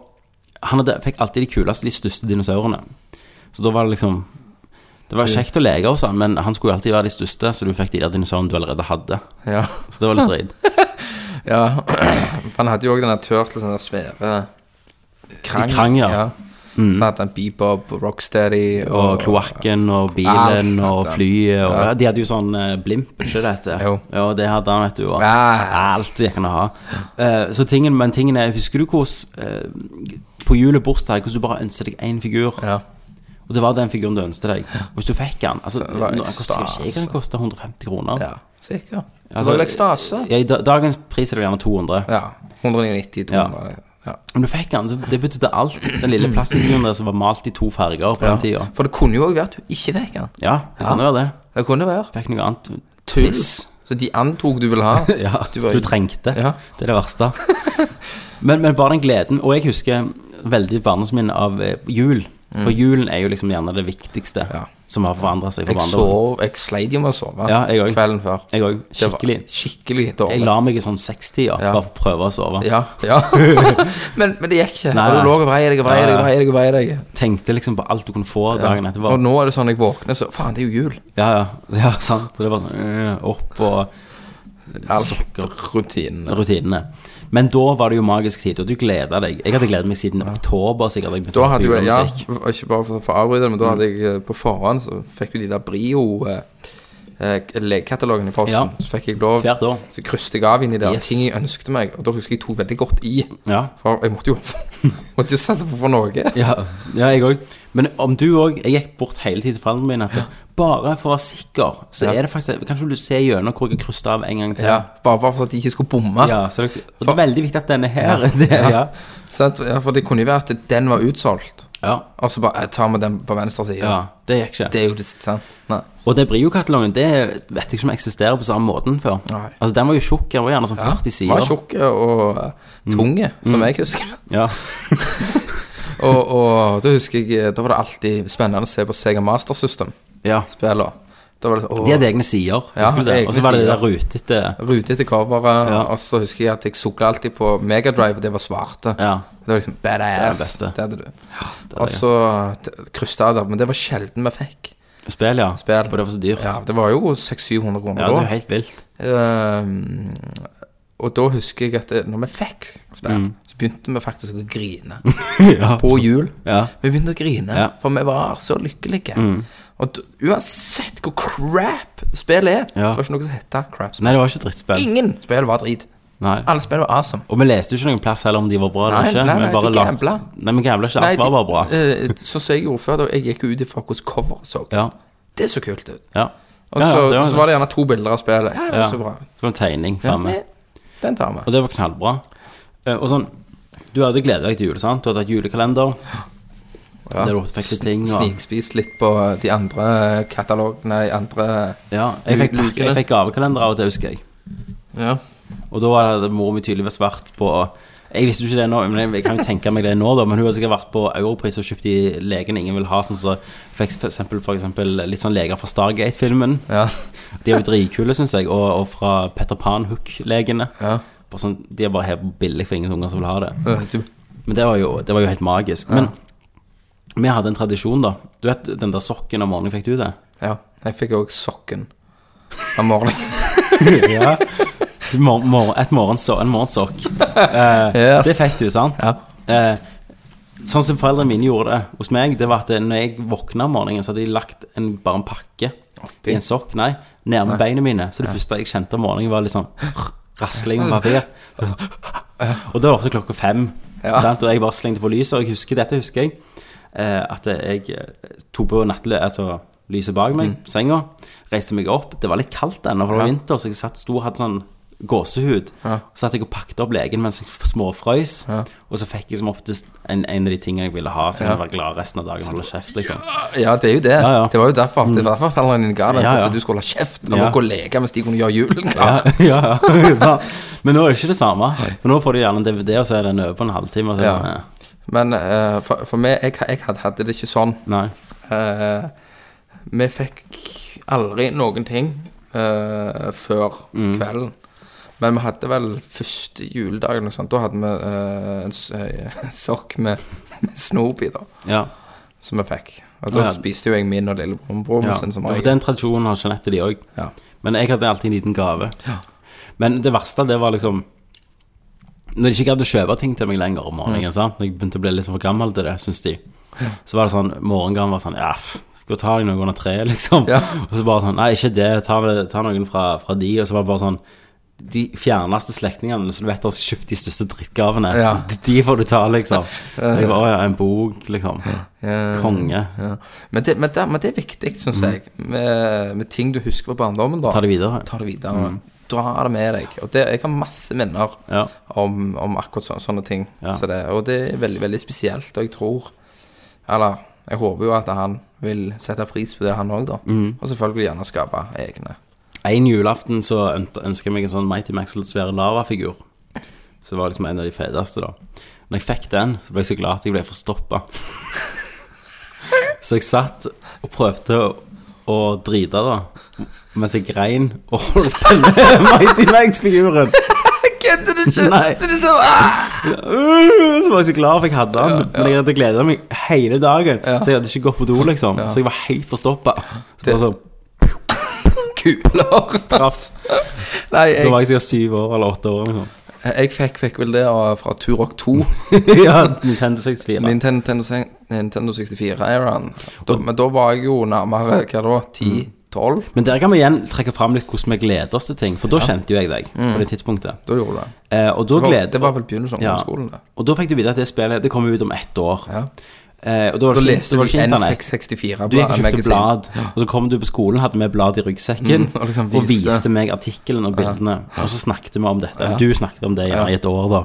S1: han hadde, fikk alltid de kuleste, de største dinosaurene. Så da var det liksom Det var kjekt å leke hos han, men han skulle jo alltid være de største, så du fikk de der dinosaurene du allerede hadde.
S5: Ja.
S1: Så det var litt dritt.
S5: ja. For han hadde jo òg den der Turtles, den der svære krang.
S1: I krang, ja. Mm.
S5: Så hadde han Bebop, Rocksteady
S1: Og kloakken og
S5: Alt
S1: bilen
S5: hadde
S1: og
S5: han.
S1: flyet og ja. De hadde jo sånn eh, blimp, ikke det dette?
S5: Jo.
S1: Ja, det hadde han, vet du. Og
S5: Ja.
S1: alt gikk han å ha. Eh, så tingen, men tingen er, husker du hvordan eh, På jul og bursdag, hvordan du bare ønsker deg én figur?
S5: Ja.
S1: Og det var den figuren du ønsket deg. Og hvis du fikk den altså,
S5: det var altså.
S1: nå, Den koster jo ikke jeg kan koste 150 kroner.
S5: Ja, sikkert. Det
S1: Altså,
S5: var jo ekstase.
S1: Ja, I da- dagens pris er det gjerne 200.
S5: Ja. 190, 200. Ja.
S1: Men du fikk den, så det betydde alt. Den lille plastikkfiguren der som var malt i to farger på den tida.
S5: For det kunne jo òg vært at du ikke fikk den.
S1: Ja, det kan jo være det.
S5: Det kunne være.
S1: Fikk noe annet.
S5: Tull. Så de antok du ville ha.
S1: Ja,
S5: Du
S1: som
S5: var-
S1: du trengte.
S5: Ja.
S1: Det er det verste. Men, men bare den gleden. Og jeg husker veldig barndomsminnet av eh, jul. For julen er jo liksom gjerne det viktigste
S5: Mm. Ja.
S1: som har forandra seg for
S5: Jeg
S1: barndommen.
S5: sov, jeg sleit jo med å sove
S1: Ja, jeg også.
S5: kvelden før.
S1: Jeg òg.
S5: Det var
S1: Skikkelig.
S5: Skikkelig
S1: Jeg
S5: dårlig.
S1: la meg i sånn sekstida
S5: Ja.
S1: bare for å prøve å sove.
S5: Ja, ja. men, men det gikk ikke.
S1: Nei,
S5: Og
S1: nei.
S5: du lå og vrei deg og vrei
S1: Ja, ja.
S5: deg og vrei deg. Og vrei deg.
S1: Tenkte liksom på alt du kunne få dagen etterpå.
S5: Og nå er det sånn jeg våkner, så faen, det er jo jul.
S1: Ja, ja, ja, sant. Og det var sånn øh, opp og
S5: altså.
S1: Sukker.
S5: Alt rutinene.
S1: rutinene. Men da var det jo magisk tid, og du gleda deg. Jeg hadde gledet meg siden oktober sikkert. Jeg begynte
S5: Da
S1: å
S5: hadde jo
S1: begynne
S5: ja,
S1: musikk.
S5: ikke bare for, for å avbryte det, men da hadde jeg eh, på forhånd så fikk jo de der Brio eh, eh, legekatalogene i posten.
S1: Ja.
S5: Så fikk jeg lov,
S1: Hvert år.
S5: så krysset jeg av inn i der
S1: Yes.
S5: ting jeg ønsket meg, og da husker jeg tok veldig godt i.
S1: Ja.
S5: For jeg måtte jo måtte jo satse på for noe.
S1: Ja, ja jeg òg. Men om du òg Jeg gikk bort hele tiden til foreldrene mine. At Bare for å være sikker, så
S5: Ja.
S1: er det faktisk Kanskje du ser gjennom hvor jeg har kryssa av en gang til.
S5: Ja, bare, bare for at de ikke skulle bomme.
S1: Ja, så det, og det
S5: For-
S1: er veldig viktig at denne her det, ja.
S5: Sant? Ja, for det kunne jo være at den var utsolgt,
S1: Ja.
S5: og så bare jeg tar vi den på venstre side.
S1: ja. Det gikk ikke.
S5: Det er jo det sant. Nei.
S1: Og det Brio-katalogen det vet jeg ikke om eksisterer på samme måten før.
S5: Nei.
S1: Altså Den var jo tjukk. Den var gjerne sånn 40
S5: Var
S1: sider.
S5: tjukk og eh,
S1: Mm.
S5: tunge, som jeg husker.
S1: Ja,
S5: og, og da husker jeg eh, Da var det alltid spennende å se på Sega Master System-spillene.
S1: ja.
S5: Da var det sånn, åh,
S1: De hadde egne sider.
S5: Ja,
S1: husker du det?
S5: egne
S1: Og så var det det
S5: sider.
S1: der rutete
S5: Rute etter coveret,
S1: Ja.
S5: og så husker jeg at jeg sukla alltid på Megadrive, og det var svarte.
S1: Ja.
S5: Det var liksom badass.
S1: Det er det beste.
S5: hadde du. og så eh, krysta jeg der, men det var sjelden vi fikk.
S1: Spill, ja.
S5: Spill.
S1: Og det var så dyrt.
S5: Ja, Det var jo 600-700 kroner
S1: Ja, det var
S5: da.
S1: helt vilt.
S5: Ehm, og da husker jeg at eh, når vi fikk spill,
S1: Mm.
S5: så begynte vi faktisk å grine.
S1: ja.
S5: På jul.
S1: Ja.
S5: Vi begynte å grine,
S1: Ja. Mm.
S5: for vi var så lykkelige. Og d- uansett hvor crap spillet er
S1: Ja.
S5: Det var ikke noe som het crap.
S1: Nei, det var ikke drittspill.
S5: Ingen spill var drit.
S1: Nei.
S5: Alle spill var awesome.
S1: Og vi leste jo ikke noen plass heller om de var bra eller
S5: Nei,
S1: ikke.
S5: nei, nei,
S1: vi bare
S5: de
S1: lag-
S5: gambla.
S1: Nei, vi gambla ikke. Alt var bare bra.
S5: eh, Sånn som jeg gjorde før, da jeg gikk jo ut ifra hvordan coveret så.
S1: Ja.
S5: Det så kult ut.
S1: ja.
S5: Og
S1: Ja,
S5: så,
S1: ja, det var
S5: så var det gjerne to bilder av spillet. Ja, det var
S1: Ja.
S5: så bra.
S1: Så var det en tegning framme.
S5: Men, Den tar vi.
S1: Og det var knallbra. Eh, Og sånn Du hadde gleda deg til jul, sant? Du hadde hatt julekalender.
S5: Ja.
S1: Der du fikk litt ting. Og,
S5: Snikspist litt på eh, de andre katalogene, de andre
S1: ja, jeg fikk, pakke-
S5: Lukene.
S1: jeg fikk gavekalender av og til, husker jeg.
S5: Ja.
S1: Og da hadde mor mi tydeligvis vært på Jeg visste jo ikke det nå, men jeg, jeg kan jo tenke meg det nå, da. Men hun har sikkert vært på Europris og kjøpt de legene ingen vil ha. Sånn som så fikk for eksempel, for eksempel litt sånn leger fra Stargate-filmen.
S5: Ja.
S1: De er jo dritkule, syns jeg. Og, og fra Petter Pan-hook-legene.
S5: ja. Eh,
S1: Bare Sånn, de er bare helt billig for ingen unger som vil ha det.
S5: Du,
S1: Men det var jo, det var jo helt magisk. Men vi hadde en tradisjon, da. Du vet den der sokken om morgenen, fikk du det?
S5: ja. Jeg fikk òg sokken av morgenen.
S1: ja. Mor mor et morgenso en morgensokk.
S5: Yes.
S1: Det fikk du, sant?
S5: Ja.
S1: Eh, sånn som foreldrene mine gjorde det hos meg, det var at når jeg våkna om morgenen, så hadde de lagt en, bare en pakke
S5: Oppi.
S1: i en sokk, nei, nærme beina mine. Så det første jeg kjente om morgenen, var litt sånn rasling med papir. Og det var ofte klokka fem.
S5: Ja.
S1: Sant? Og jeg bare slengte på lyset, og jeg husker dette, husker jeg. eh, At jeg eh, tok på nattlø, altså lyset bak meg, senga, reiste meg opp. Det var litt kaldt ennå, for det var vinter, så jeg satt sto og hadde sånn gåsehud. Så satt jeg og pakket opp legen mens jeg småfrøys, og så fikk jeg som oftest en, en av de tingene jeg ville ha, så jeg kunne være glad resten av dagen og holde kjeft, liksom.
S5: Ja, det er jo det.
S1: Ja, ja.
S5: Det var jo derfor det var derfor foreldrene dine ga deg,
S1: Ja,
S5: for
S1: ja.
S5: at du skulle holde kjeft
S1: Ja.
S5: når ja. gå og leke mens de kunne gjøre julen
S1: Ja,
S5: klar.
S1: ja, ja. sant. Men nå er det ikke det samme. For nå får du gjerne en DVD, og så er den over på en halvtime. Og så,
S5: Ja. Men eh, for, for meg, jeg, jeg hadde, hadde det ikke sånn.
S1: Nei.
S5: Eh, vi fikk aldri noen ting eh, før
S1: Mm.
S5: kvelden. Men vi hadde vel første juledag eller noe sånt. Da hadde vi eh, en s- eh, sokk med, med Snoopy, da,
S1: Ja.
S5: som vi fikk. Og da
S1: Ja.
S5: spiste jo jeg min og lillebroren
S1: Ja.
S5: min sin som
S1: og
S5: regel.
S1: Den tradisjonen har Jeanette de òg.
S5: Ja.
S1: Men jeg hadde alltid en liten gave. Men det verste, det var liksom Når de ikke gadd å kjøpe ting til meg lenger om morgenen,
S5: Mm.
S1: sant? når jeg begynte å bli litt for gammel til det, syns de, så var det sånn Morgengaven var sånn Ja, f- skal du ta deg noe under treet, liksom?
S5: Ja.
S1: Og så bare sånn Nei, ikke det. Ta, ta noen fra, fra de. Og så var det bare sånn de fjerneste slektningene som du vet har kjøpt de største drittgavene.
S5: Ja.
S1: De får du ta, liksom. Jeg var, «Å ja, en bok, liksom.
S5: Eh,
S1: Konge.
S5: Ja. Men, det, men, det, men det er viktig, syns jeg, med, med ting du husker fra barndommen. da
S1: Mm. Ta det videre. Mm.
S5: Ta det videre. Dra det med deg. Og det, jeg har masse minner
S1: Ja.
S5: om, om akkurat så, sånne ting.
S1: Ja.
S5: Så det, og det er veldig, veldig spesielt, og jeg tror Eller jeg håper jo at han vil sette pris på det, han òg, da.
S1: Mm.
S5: Og selvfølgelig gjerne skape egne.
S1: En julaften så ønska jeg meg en sånn Mighty Maxwell-svær lavafigur. Som var liksom en av de feteste, da. Når jeg fikk den, så ble jeg så glad at jeg ble forstoppa. så jeg satt og prøvde å, å drite, da. Mens jeg grein og holdt denne Mighty Max-figuren.
S5: Kødder du ikke?!
S1: Nei.
S5: Så du så, ah!
S1: Uh, Så var jeg så glad for jeg hadde den. Men jeg hadde gleda meg hele dagen, så jeg hadde ikke gått på do, liksom. Så jeg var helt forstoppa. Så
S5: Det-
S1: bare sånn
S5: Kuler!
S1: traff.
S5: Nei,
S1: Da var
S5: jeg,
S1: jeg sikkert syv år eller åtte år, liksom.
S5: jeg fikk, fikk vel det av- fra Turok 2.
S1: ja, Nintendo 64.
S5: Nintendo, Nintendo, Nintendo 64-æraen. Da- Men da var jeg jo nærmere hva da?
S1: Mm.
S5: 10-12?
S1: Men der kan vi igjen trekke fram litt hvordan vi gleder oss til ting, for da kjente jo jeg deg på det tidspunktet.
S5: Da gjorde du det.
S1: Eh, og da
S5: Mm. Det var,
S1: gled-
S5: det var vel begynnelsen av
S1: Ja.
S5: ungdomsskolen, det.
S1: Og da fikk du vite at det spillet det kommer ut om ett år.
S5: Ja.
S1: Eh, og da var
S5: Da
S1: det, ikke,
S5: leste
S1: det
S5: du
S1: var ikke internett.
S5: N664
S1: Du gikk og kjøpte
S5: magasin.
S1: blad, og så kom du på skolen, hadde med blad i ryggsekken,
S5: Mm, og liksom
S1: og
S5: viste.
S1: viste meg artikkelen og bildene, og så snakket vi om dette. Du snakket om det gjerne i et år, da.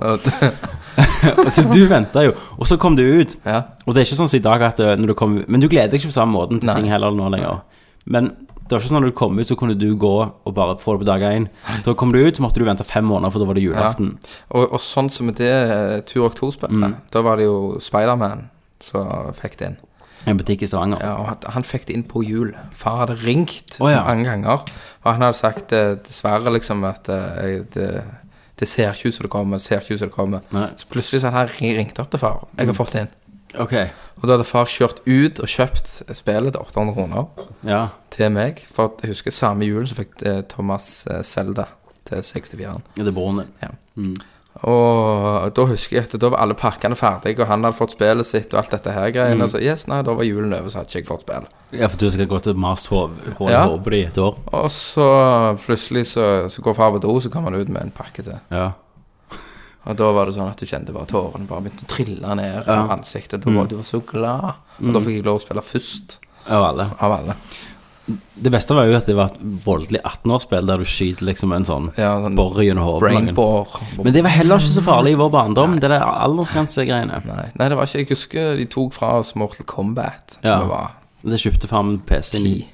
S1: Og så du venta jo, og så kom det ut.
S5: Ja.
S1: Og det er ikke sånn som i dag at eh, når du kom, Men du gleder deg ikke på samme måten til
S5: Nei.
S1: ting heller nå lenger. Men det var ikke sånn at når du kom ut, så kunne du gå og bare få det på dag én. Da kom du ut, så måtte du vente fem måneder, for da var det julaften.
S5: Og, og sånn som det eh, Turok
S1: Mm.
S5: 2-spillet, da var det jo Spiderman som fikk det inn.
S1: En butikk i Stavanger.
S5: Ja, og han- han fikk det inn på jul. Far hadde ringt
S1: Å, ja.
S5: mange ganger, og han hadde sagt eh, dessverre liksom at eh, det, det ser ikke ut som det kommer, det ser ikke ut som det kommer.
S1: Nei.
S5: Så plutselig så hadde han ri- ringt opp til far.
S1: Mm.
S5: 'Jeg har fått det inn.'
S1: Ok.
S5: Og da hadde far kjørt ut og kjøpt spillet til 800 kroner
S1: Ja.
S5: til meg. For at jeg husker samme julen så fikk eh, Thomas eh, Zelda til 64-en.
S1: Det er broren din.
S5: Ja. Og da husker jeg at da var alle pakkene ferdige, og han hadde fått spillet sitt og alt dette her
S1: Mm.
S5: greiene. Og så yes, nei, da var julen over, så hadde ikke jeg fått spill.
S1: Ja, for du skal gå til Mars Hov Hov-
S5: Ja.
S1: Hov på det i et år.
S5: Og så plutselig så, så går far på do, så kommer han ut med en pakke til.
S1: Ja.
S5: Og da var det sånn at du kjente bare tårene bare begynte å trille ned av ansiktet. Da var
S1: Mm.
S5: du var så glad. Og da fikk jeg lov å spille først
S1: Av alle.
S5: av alle.
S1: Det beste var jo at det var et voldelig 18-årsspill der du skyter liksom en sånn
S5: Ja, sånn
S1: borre gjennom hodet. på noen.
S5: Brainbore.
S1: Men det var heller ikke så farlig i vår barndom, det der aldersgrensegreiene.
S5: Nei, nei, det var ikke Jeg husker de tok fra oss Mortal Kombat.
S1: Ja.
S5: når vi var
S1: Det kjøpte far min PC i,
S5: ti.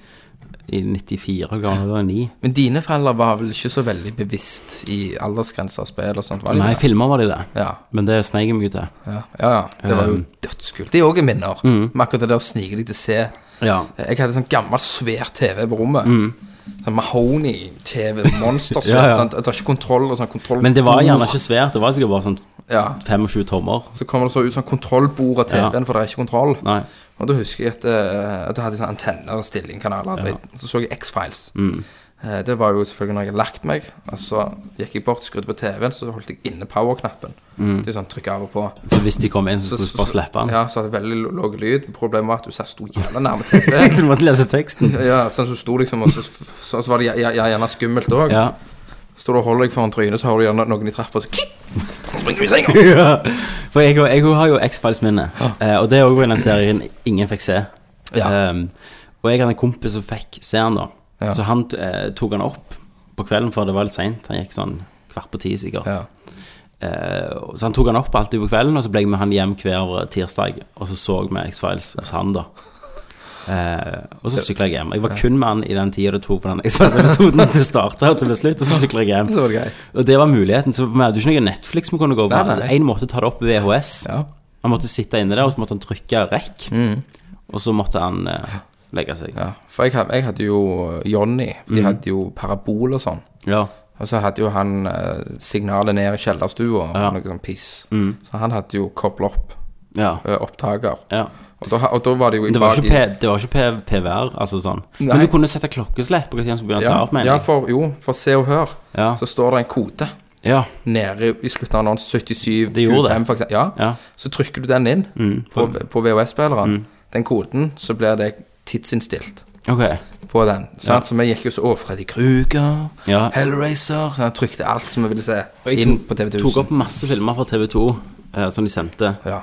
S1: i 94 og gammel, det var 9.
S5: Men dine foreldre var vel ikke så veldig bevisst i aldersgrenser av spill og sånt? var de
S1: Nei,
S5: det?
S1: filmer var det det.
S5: Ja,
S1: Men det sneik jeg meg ut til.
S5: ja, ja, ja. Det var jo
S1: Um.
S5: dødskult. Det er òg minner.
S1: Mm.
S5: Med akkurat det der å snike deg til å se.
S1: Ja.
S5: Jeg hadde sånn gammel, svær TV på rommet. Sånn Mahoney-TV, monstersvær.
S1: Mm. Ja, ja.
S5: sånn, Det var ikke kontroll og sånn kontroll...
S1: Men det var gjerne ikke svært. Det var sikkert bare sånn
S5: Ja.
S1: 25 tommer.
S5: Så kommer det så ut sånn kontrollbord av TV-en,
S1: Ja.
S5: for det er ikke kontroll.
S1: Nei.
S5: Og da husker jeg at, eh, at jeg hadde sånn antenner og stillingkanaler. dritt. Så så jeg X-Files.
S1: Mm.
S5: Eh, Det var jo selvfølgelig når jeg hadde lagt meg. Og så gikk jeg bort, skrudde på TV-en, så holdt jeg inne power-knappen. Det er sånn trykk av og på.
S1: Så hvis de kom inn, så skulle Mm. du bare slippe den.
S5: Ja, så hadde jeg veldig l- lav lyd. Problemet var at du satt sto jævla nærme TV.
S1: Så du måtte lese teksten.
S5: Ja, sånn som du sto liksom, og så, så, så var det gj- gj- gjerne skummelt òg.
S1: Ja.
S5: Står du og holder deg foran trynet, så har du gjerne noen i trappa, så kikk, springer du i senga.
S1: ja. For jeg, jeg har jo X-Files-minne, eh, og det er òg en serien ingen fikk se.
S5: Ja.
S1: Um, og jeg hadde en kompis som fikk se han da.
S5: Ja.
S1: Så han eh, tok han opp på kvelden, for det var litt seint. Han gikk sånn kvart på ti, sikkert.
S5: Ja.
S1: Eh, og så han tok han opp alltid på kvelden, og så ble jeg med han hjem hver tirsdag. Og så så vi X-Files hos han, da. Eh, og så sykla jeg hjem. Jeg var kun med han i den tida det tok på den X-Files-episoden til starta og til ble slutt, og så sykla jeg hjem.
S5: Så var det greit.
S1: Og det var muligheten. Så vi hadde jo ikke noe Netflix vi kunne gå på.
S5: Nei, nei.
S1: Én måtte ta det opp ved VHS.
S5: Ja. Mm.
S1: Han måtte sitte inne der, og så måtte han trykke rekk. Og så måtte han eh, legge seg.
S5: Ja, for jeg, had- jeg hadde jo Johnny, for
S1: Mm.
S5: de hadde jo parabol og sånn.
S1: Ja.
S5: Og så hadde jo han eh, signalet ned i kjellerstua, og noe sånn piss.
S1: Mm.
S5: Så han hadde jo kobla opp
S1: Ja.
S5: eh, opptaker.
S1: ja.
S5: Og da, ha- og da var det jo i
S1: Det var
S5: bak
S1: ikke,
S5: i-
S1: P- det var ikke P- PVR, altså sånn.
S5: Nei.
S1: Men du kunne sette klokkeslett på når han skulle begynne å ta
S5: ja,
S1: opp, mener
S5: ja,
S1: jeg.
S5: for jo, for Se og Hør,
S1: Ja.
S5: så står det en kode
S1: Ja.
S5: nede i slutten av annonsen, 77,
S1: Det gjorde det.
S5: 25, for eksempel. Ja.
S1: Ja. Mm.
S5: Så trykker du den inn på, på VHS-spilleren. Den koden, så blir det tidsinnstilt.
S1: Ok.
S5: på den. Sant? Så vi gikk jo så over Freddy Kruger,
S1: Ja.
S5: Hellraiser sant? Trykte alt som vi ville se
S1: Og jeg
S5: inn
S1: tok-
S5: på TV1000.
S1: Tok opp masse filmer fra TV2 eh, som de sendte.
S5: Ja.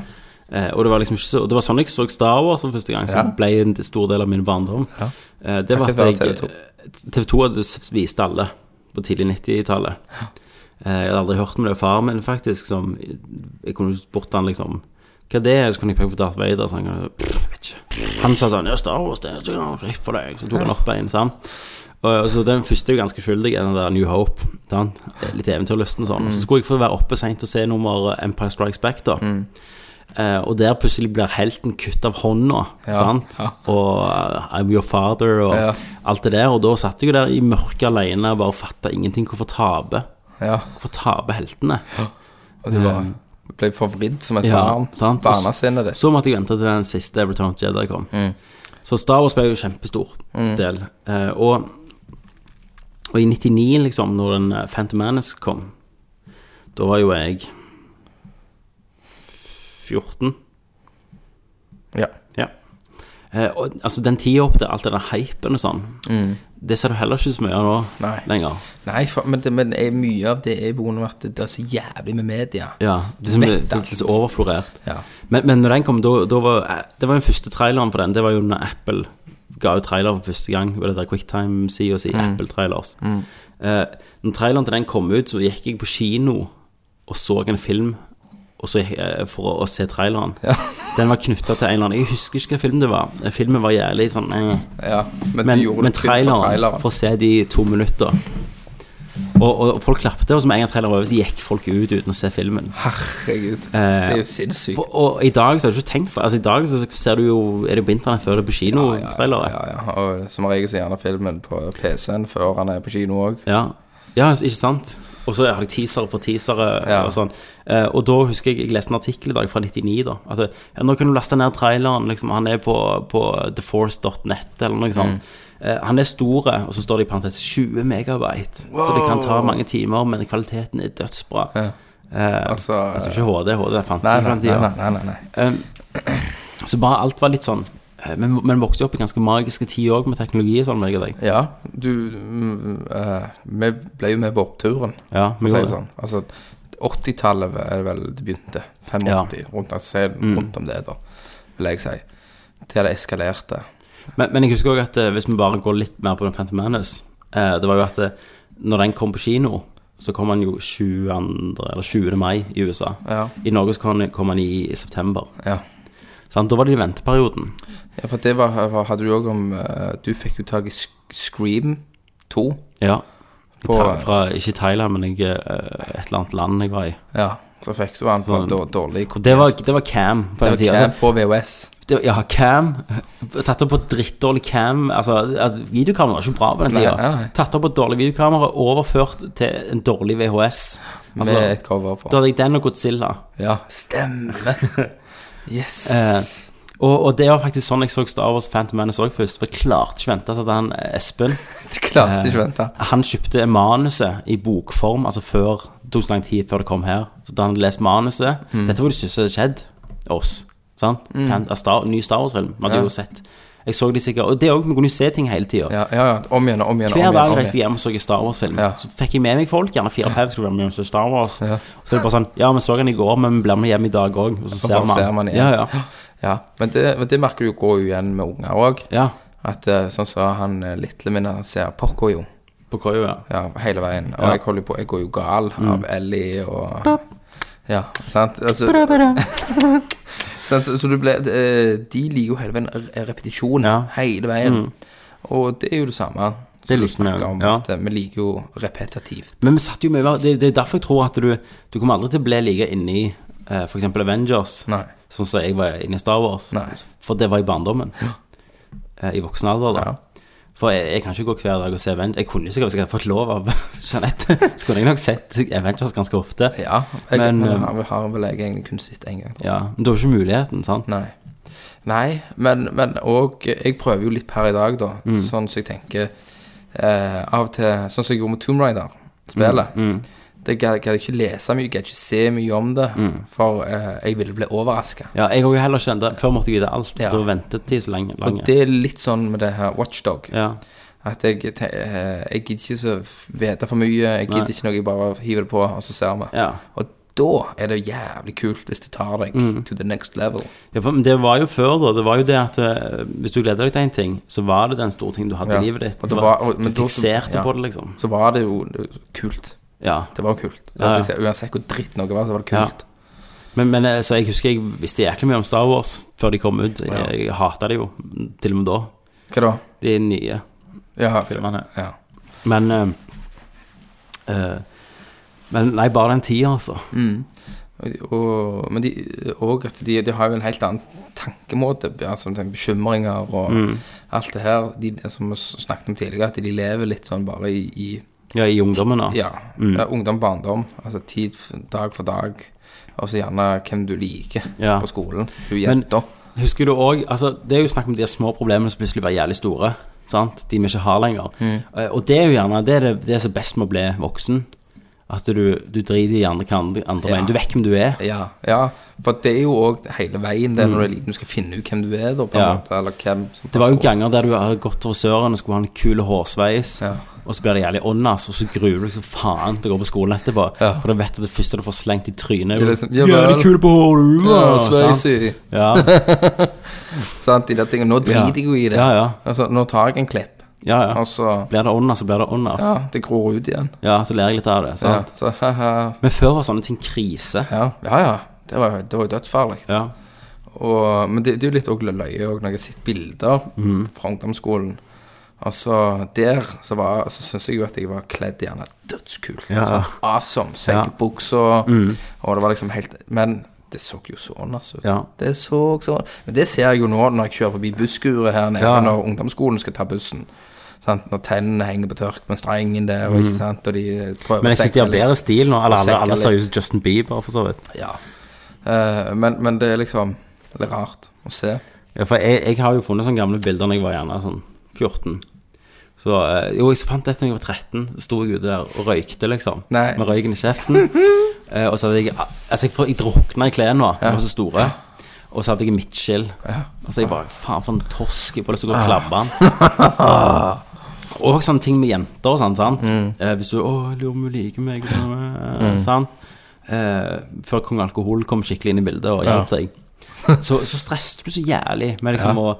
S1: Eh, og det var liksom ikke så Det var sånn jeg så Star Wars for første gang, som
S5: Ja.
S1: ble en stor del av min barndom.
S5: Ja.
S1: Eh, det var
S5: Takket
S1: at
S5: være
S1: jeg TV2 hadde s- vist alle på tidlig 90-tallet. Eh, jeg hadde aldri hørt om det. Faren min, faktisk, som Jeg kunne spurt han liksom Hva er det er, så kunne jeg peke på Darth Vader. Så han, kan- «Pff, vet ikke. han sa sånn Ja, Star Wars, det er så fritt for deg. Så tok han opp en, sant. Og og så Den første er jo ganske skyldig, den der New Hope. Sant? Eh, Litt eventyrlysten og sånn.
S5: Mm.
S1: Så skulle jeg få være oppe seint og se nummer eh, Empire Strikes Back, da. Eh, og der plutselig blir helten kutt av hånda,
S5: Ja,
S1: sant?
S5: ja.
S1: Og eh, I'm your father og
S5: Ja.
S1: alt det der. Og da satt jeg jo der i mørket alene og bare fatta ingenting. Hvorfor tape?
S5: ja.
S1: Hvorfor tape heltene?
S5: Og du bare ble forvridd som et barn.
S1: sant? Og s-
S5: Barnesinnet ditt.
S1: Så måtte jeg vente til den siste Return of the Jedi kom.
S5: Mm.
S1: Så Star Wars ble jo kjempestor del. Eh, og, og i 99, liksom, når den eh, Phantom Menace kom, da var jo jeg 14.
S5: Ja.
S1: Ja. Eh, og, altså, den tida opp til alt det der hypen og sånn, det ser du heller ikke så mye av nå
S5: Nei.
S1: lenger.
S5: Mm. Nei, for, men, det, men det er mye av det er på grunn av at det er så jævlig med media.
S1: Ja, det, som, det,
S5: Vet
S1: det er så overflorert.
S5: Ja.
S1: Men, men når den kom, da, da var eh, Det var den første traileren for den. Det var jo når Apple ga ut trailer for første gang. Var det der QuickTime-sida si,
S5: Mm.
S1: Apple Trailers. Eh, når traileren til den kom ut, så gikk jeg på kino og så en film og så, gikk- eh, for å, å se traileren.
S5: Ja.
S1: Den var knytta til en eller annen Jeg husker ikke hva film det var. Filmen var jævlig sånn eh.
S5: Ja, men,
S1: Men,
S5: du gjorde
S1: men
S5: det kun for
S1: traileren,
S5: traileren.
S1: for å se de to minutter Og, og folk klappte, og som en gang traileren var over, så gikk folk ut uten å se filmen.
S5: Herregud.
S1: Eh,
S5: det er jo sinnssykt.
S1: Og, og i dag så har du ikke tenkt for Altså i dag så ser du jo Er det på internett før det er på kino?
S5: Ja, ja,
S1: trailere?
S5: Ja, ja. Og som regel så gjerne filmen på PC-en før han er på kino òg.
S1: Ja, ja altså, ikke sant? Og så har de teasere for teasere
S5: Ja.
S1: og sånn. Eh, og da husker jeg jeg leste en artikkel i dag fra 99, da. At det, ja, nå kan du laste ned traileren. Liksom, han er på, på theforce.net eller noe sånt.
S5: Mm.
S1: Eh, han er store, og så står det i parentes 20 megabyte. Så det kan ta mange timer, men kvaliteten er dødsbra.
S5: Ja.
S1: Eh,
S5: Altså,
S1: altså ikke HD, HD fantes
S5: Nei,
S1: ikke på
S5: nei,
S1: den
S5: nei,
S1: tida.
S5: nei, nei, nei.
S1: Um, så bare alt var litt sånn eh, Men, men vokste jo opp i ganske magiske tider òg, med teknologi og sånn. meg og deg.
S5: Ja, du mm, eh, Vi ble jo med på oppturen,
S1: Ja,
S5: for
S1: vi
S5: å si
S1: gjorde
S5: det
S1: det.
S5: sånn. Altså, 80-tallet er vel det begynte. 85, rundt, altså,
S1: Mm.
S5: rundt om det, da, vil jeg si. Til det eskalerte.
S1: Men, men jeg husker òg at eh, hvis vi bare går litt mer på den Phantom Menace eh, Det var jo at eh, når den kom på kino, så kom den jo 22. eller 20. mai i USA.
S5: Ja.
S1: I Norge så kom den- kom den i, i september.
S5: Ja.
S1: Sant? Da var det i venteperioden.
S5: ja, for det var, var- hadde du òg om eh, Du fikk jo tak i Sk- Scream 2.
S1: Ja. I
S5: På-
S1: Tha- fra, ikke i Thailand, men jeg, eh, et eller annet land jeg var i.
S5: Ja, så fikk du han på
S1: Sånn.
S5: dår- dårlig
S1: Og det var, det var cam på den altså.
S5: Det var
S1: tida.
S5: Cam på VHS.
S1: det, Ja, cam Tatt opp på drittdårlig cam Altså, altså videokamera var ikke bra på den
S5: Nei,
S1: tida
S5: nei, nei.
S1: Tatt opp på dårlig videokamera Overført til en dårlig VHS altså,
S5: med et cover på.
S1: Da hadde jeg den og Godzilla
S5: Ja, stemmer. Yes.
S1: og, og det var faktisk sånn jeg så Star Wars Phantom Menace også først For jeg klarte ikke å vente til at han eh, Espen
S5: du klarte
S1: Eh.
S5: ikke å vente.
S1: Han kjøpte manuset i bokform Altså før, det tok så lang tid før det kom her Så da han hadde lest manuset
S5: Mm.
S1: Dette var det siste som hadde skjedd oss sant? Fan- eh, Star, Ny Star Wars film, vi hadde
S5: Ja.
S1: jo sett Jeg så de sikkert, og det også, vi kunne jo se ting hele tiden
S5: Ja, ja, ja. Om igjen og om igjen. og
S1: Hver
S5: om igjen,
S1: dag
S5: om
S1: reiste
S5: igjen.
S1: jeg hjem og så en Star Wars-film.
S5: Ja.
S1: Så fikk jeg med meg folk, gjerne fire-fem, skulle være med og se Star Wars. Så er det bare sånn Ja, vi så den i går, men vi blir med hjem i dag òg. Og så
S5: Så
S1: ser
S5: bare
S1: man.
S5: ser man igjen.
S1: Ja, ja.
S5: Ja, men det, men det merker du jo går jo igjen med unger òg.
S1: ja.
S5: At eh, sånn som han eh, lille min, han ser Poco jo
S1: På KU, ja. Mm.
S5: ja, hele veien. Og jeg holder jo på, jeg går jo gal av Ellie og Ja, sant? Altså, sant? Så, så du ble eh, De liker jo hele veien re- repetisjon.
S1: Ja. Mm.
S5: Hele veien. Og det er jo det samme.
S1: Det liker
S5: som vi
S1: vi jo,
S5: snakker om,
S1: ja.
S5: at, eh, Vi liker jo repetitivt.
S1: Men vi satt jo mye mer det, det er derfor jeg tror at du Du kommer aldri til å bli like inni eh, for eksempel Avengers,
S5: Nei.
S1: sånn som jeg var inni Star Wars.
S5: Nei.
S1: For det var i barndommen. Eh, I voksen alder, da.
S5: Ja.
S1: For jeg, jeg kan ikke gå hver dag og se Avengers. Jeg kunne jo sikkert hvis jeg hadde fått lov av Jeanette. Så kunne jeg nok sett Avengers ganske ofte.
S5: Ja, jeg,
S1: Men,
S5: men,
S1: eh,
S5: har, vel- har vel jeg egentlig kun sett én gang. tror jeg.
S1: Ja, Men du har jo ikke muligheten, sant?
S5: Nei. Nei, men, men og Jeg prøver jo litt per i dag, da.
S1: Mm. Mm,
S5: Sånn som jeg tenker eh, Av og til Sånn som jeg gjorde med Tomb Raider-spillet. Det gadd gadd jeg ikke lese mye, gadd ikke se mye om det,
S1: Mm.
S5: for eh, jeg ville bli overraska.
S1: Ja, jeg òg heller kjente Før måtte jeg vite alt.
S5: Ja.
S1: Da ventet de så lenge.
S5: Og
S1: lenge.
S5: det er litt sånn med det her Watchdog.
S1: Ja.
S5: At jeg, te- eh, jeg gidder ikke så f- vite for mye. Jeg
S1: Nei.
S5: gidder ikke noe, jeg bare hiver det på, og så ser vi.
S1: Ja.
S5: Og da er det jævlig kult hvis det tar deg
S1: Mm.
S5: to the next level.
S1: Ja, for, men det var jo før, da. Det var jo det at eh, hvis du gleder deg til en ting, så var det den store tingen du hadde
S5: Ja.
S1: i livet ditt.
S5: Og det
S1: Det
S5: var- og-
S1: du
S5: men da så-
S1: fikserte
S5: ja.
S1: på det, liksom.
S5: Så var det jo kult.
S1: Ja.
S5: Det var jo kult.
S1: Ja, ja.
S5: Altså, jeg sier, uansett hvor dritt noe var, så var det kult.
S1: Men, men eh, så jeg husker jeg visste jæklig mye om Star Wars før de kom ut. Jeg,
S5: Ja.
S1: jeg hata det jo, til og med da.
S5: Hva da?
S1: De nye
S5: Ja,
S1: filmene.
S5: ja.
S1: Men eh, eh, Men nei, bare den tida, altså.
S5: Mm. Og, og, men de, og at de, de har jo en helt annen tankemåte, altså med bekymringer og
S1: Mm.
S5: alt det her, de, som vi snakket om tidligere, at de lever litt sånn bare i, i
S1: Ja, Mm. i ungdommen, da.
S5: ja, ja, ungdom, barndom, altså tid, f- dag for dag, og så gjerne hvem du liker
S1: Ja.
S5: på skolen, du
S1: Men-
S5: jenter.
S1: Husker du òg altså, Det er jo snakk om de små problemene som plutselig blir jævlig store. Sant? De vi ikke har lenger.
S5: Mm.
S1: Eh, Og det er jo gjerne det, er det, det som er best med å bli voksen. At du, du driter i andre, hva andre, andre
S5: Ja.
S1: veien. Du vet hvem du er.
S5: Ja, ja, for det er jo òg hele veien det når du er liten, du skal finne ut hvem du er, da, på en
S1: Mm. Ja.
S5: måte, eller hvem som
S1: Det var jo
S5: person.
S1: ganger der du har gått over søren og skulle ha en kul hårsveis,
S5: Ja.
S1: og så blir det jævlig åndas, og så gruer du deg som faen til å gå på skolen etterpå.
S5: Ja.
S1: For du vet at det første du får slengt i trynet,
S5: Ja,
S1: er jo
S5: liksom, ja
S1: Jævlig
S5: vel.
S1: kul på håret, du,
S5: Ja,
S1: da», sant?
S5: sveis i-
S1: Ja,
S5: Sant, de der tingene. Nå driter jeg jo i det.
S1: Ja, ja.
S5: Altså, nå tar jeg en klipp,
S1: ja, ja.
S5: og så
S1: Blir det åndas, så blir det åndas.
S5: Ja, det gror ut igjen.
S1: Ja, så ler jeg litt av det.
S5: Ja,
S1: Sant?
S5: så haha.
S1: Men før var sånne ting krise.
S5: Ja, ja. ja. Det var, jo- det var jo dødsfarlig.
S1: Ja.
S5: Og, men det, det er jo litt òg løye også, når jeg har sett bilder
S1: Mm.
S5: fra ungdomsskolen. Altså, der så, var- så syns jeg jo at jeg var kledd gjerne dødskult.
S1: Ja. Mm.
S5: Sånn, awesome. Sengebukser. Og det var liksom helt Men det så jo sånn altså ut.
S1: Ja.
S5: Det så sånn Men det ser jeg jo nå når jeg kjører forbi busskuret her nede,
S1: Ja.
S5: når ungdomsskolen skal ta bussen. Sant? Når tennene henger på tørk med strengen der, og, ikke sant? og de prøver
S1: Mm. Men jeg synes de har
S5: litt.
S1: bedre stil nå. Alle, alle,
S5: senke
S1: alle ser
S5: litt.
S1: ut som Justin Bieber, for så vidt.
S5: Ja. Eh, men, men det er liksom litt rart å se.
S1: Ja, for jeg, jeg har jo funnet sånne gamle bilder når jeg var gjerne sånn 14. Så, eh, jo, jeg fant dette da jeg var 13. Sto jeg ute der og røykte, liksom.
S5: Nei.
S1: Med røyken i kjeften. Eh, og så hadde jeg Altså, jeg, jeg drukna i klærne, da. De var så store. Og så hadde jeg midtskill. Og så Altså, jeg bare Faen, for en torsk. Jeg bare lyst til å gå
S5: Ah.
S1: og klabbe den. Og sånne ting med jenter og sånn, sant.
S5: Mm.
S1: Eh, hvis du Å, jeg lurer om hun liker meg. eh, Sant. Eh, før Kong Alkohol kom skikkelig inn i bildet og hjalp deg. Så, så stresset du så jævlig med liksom å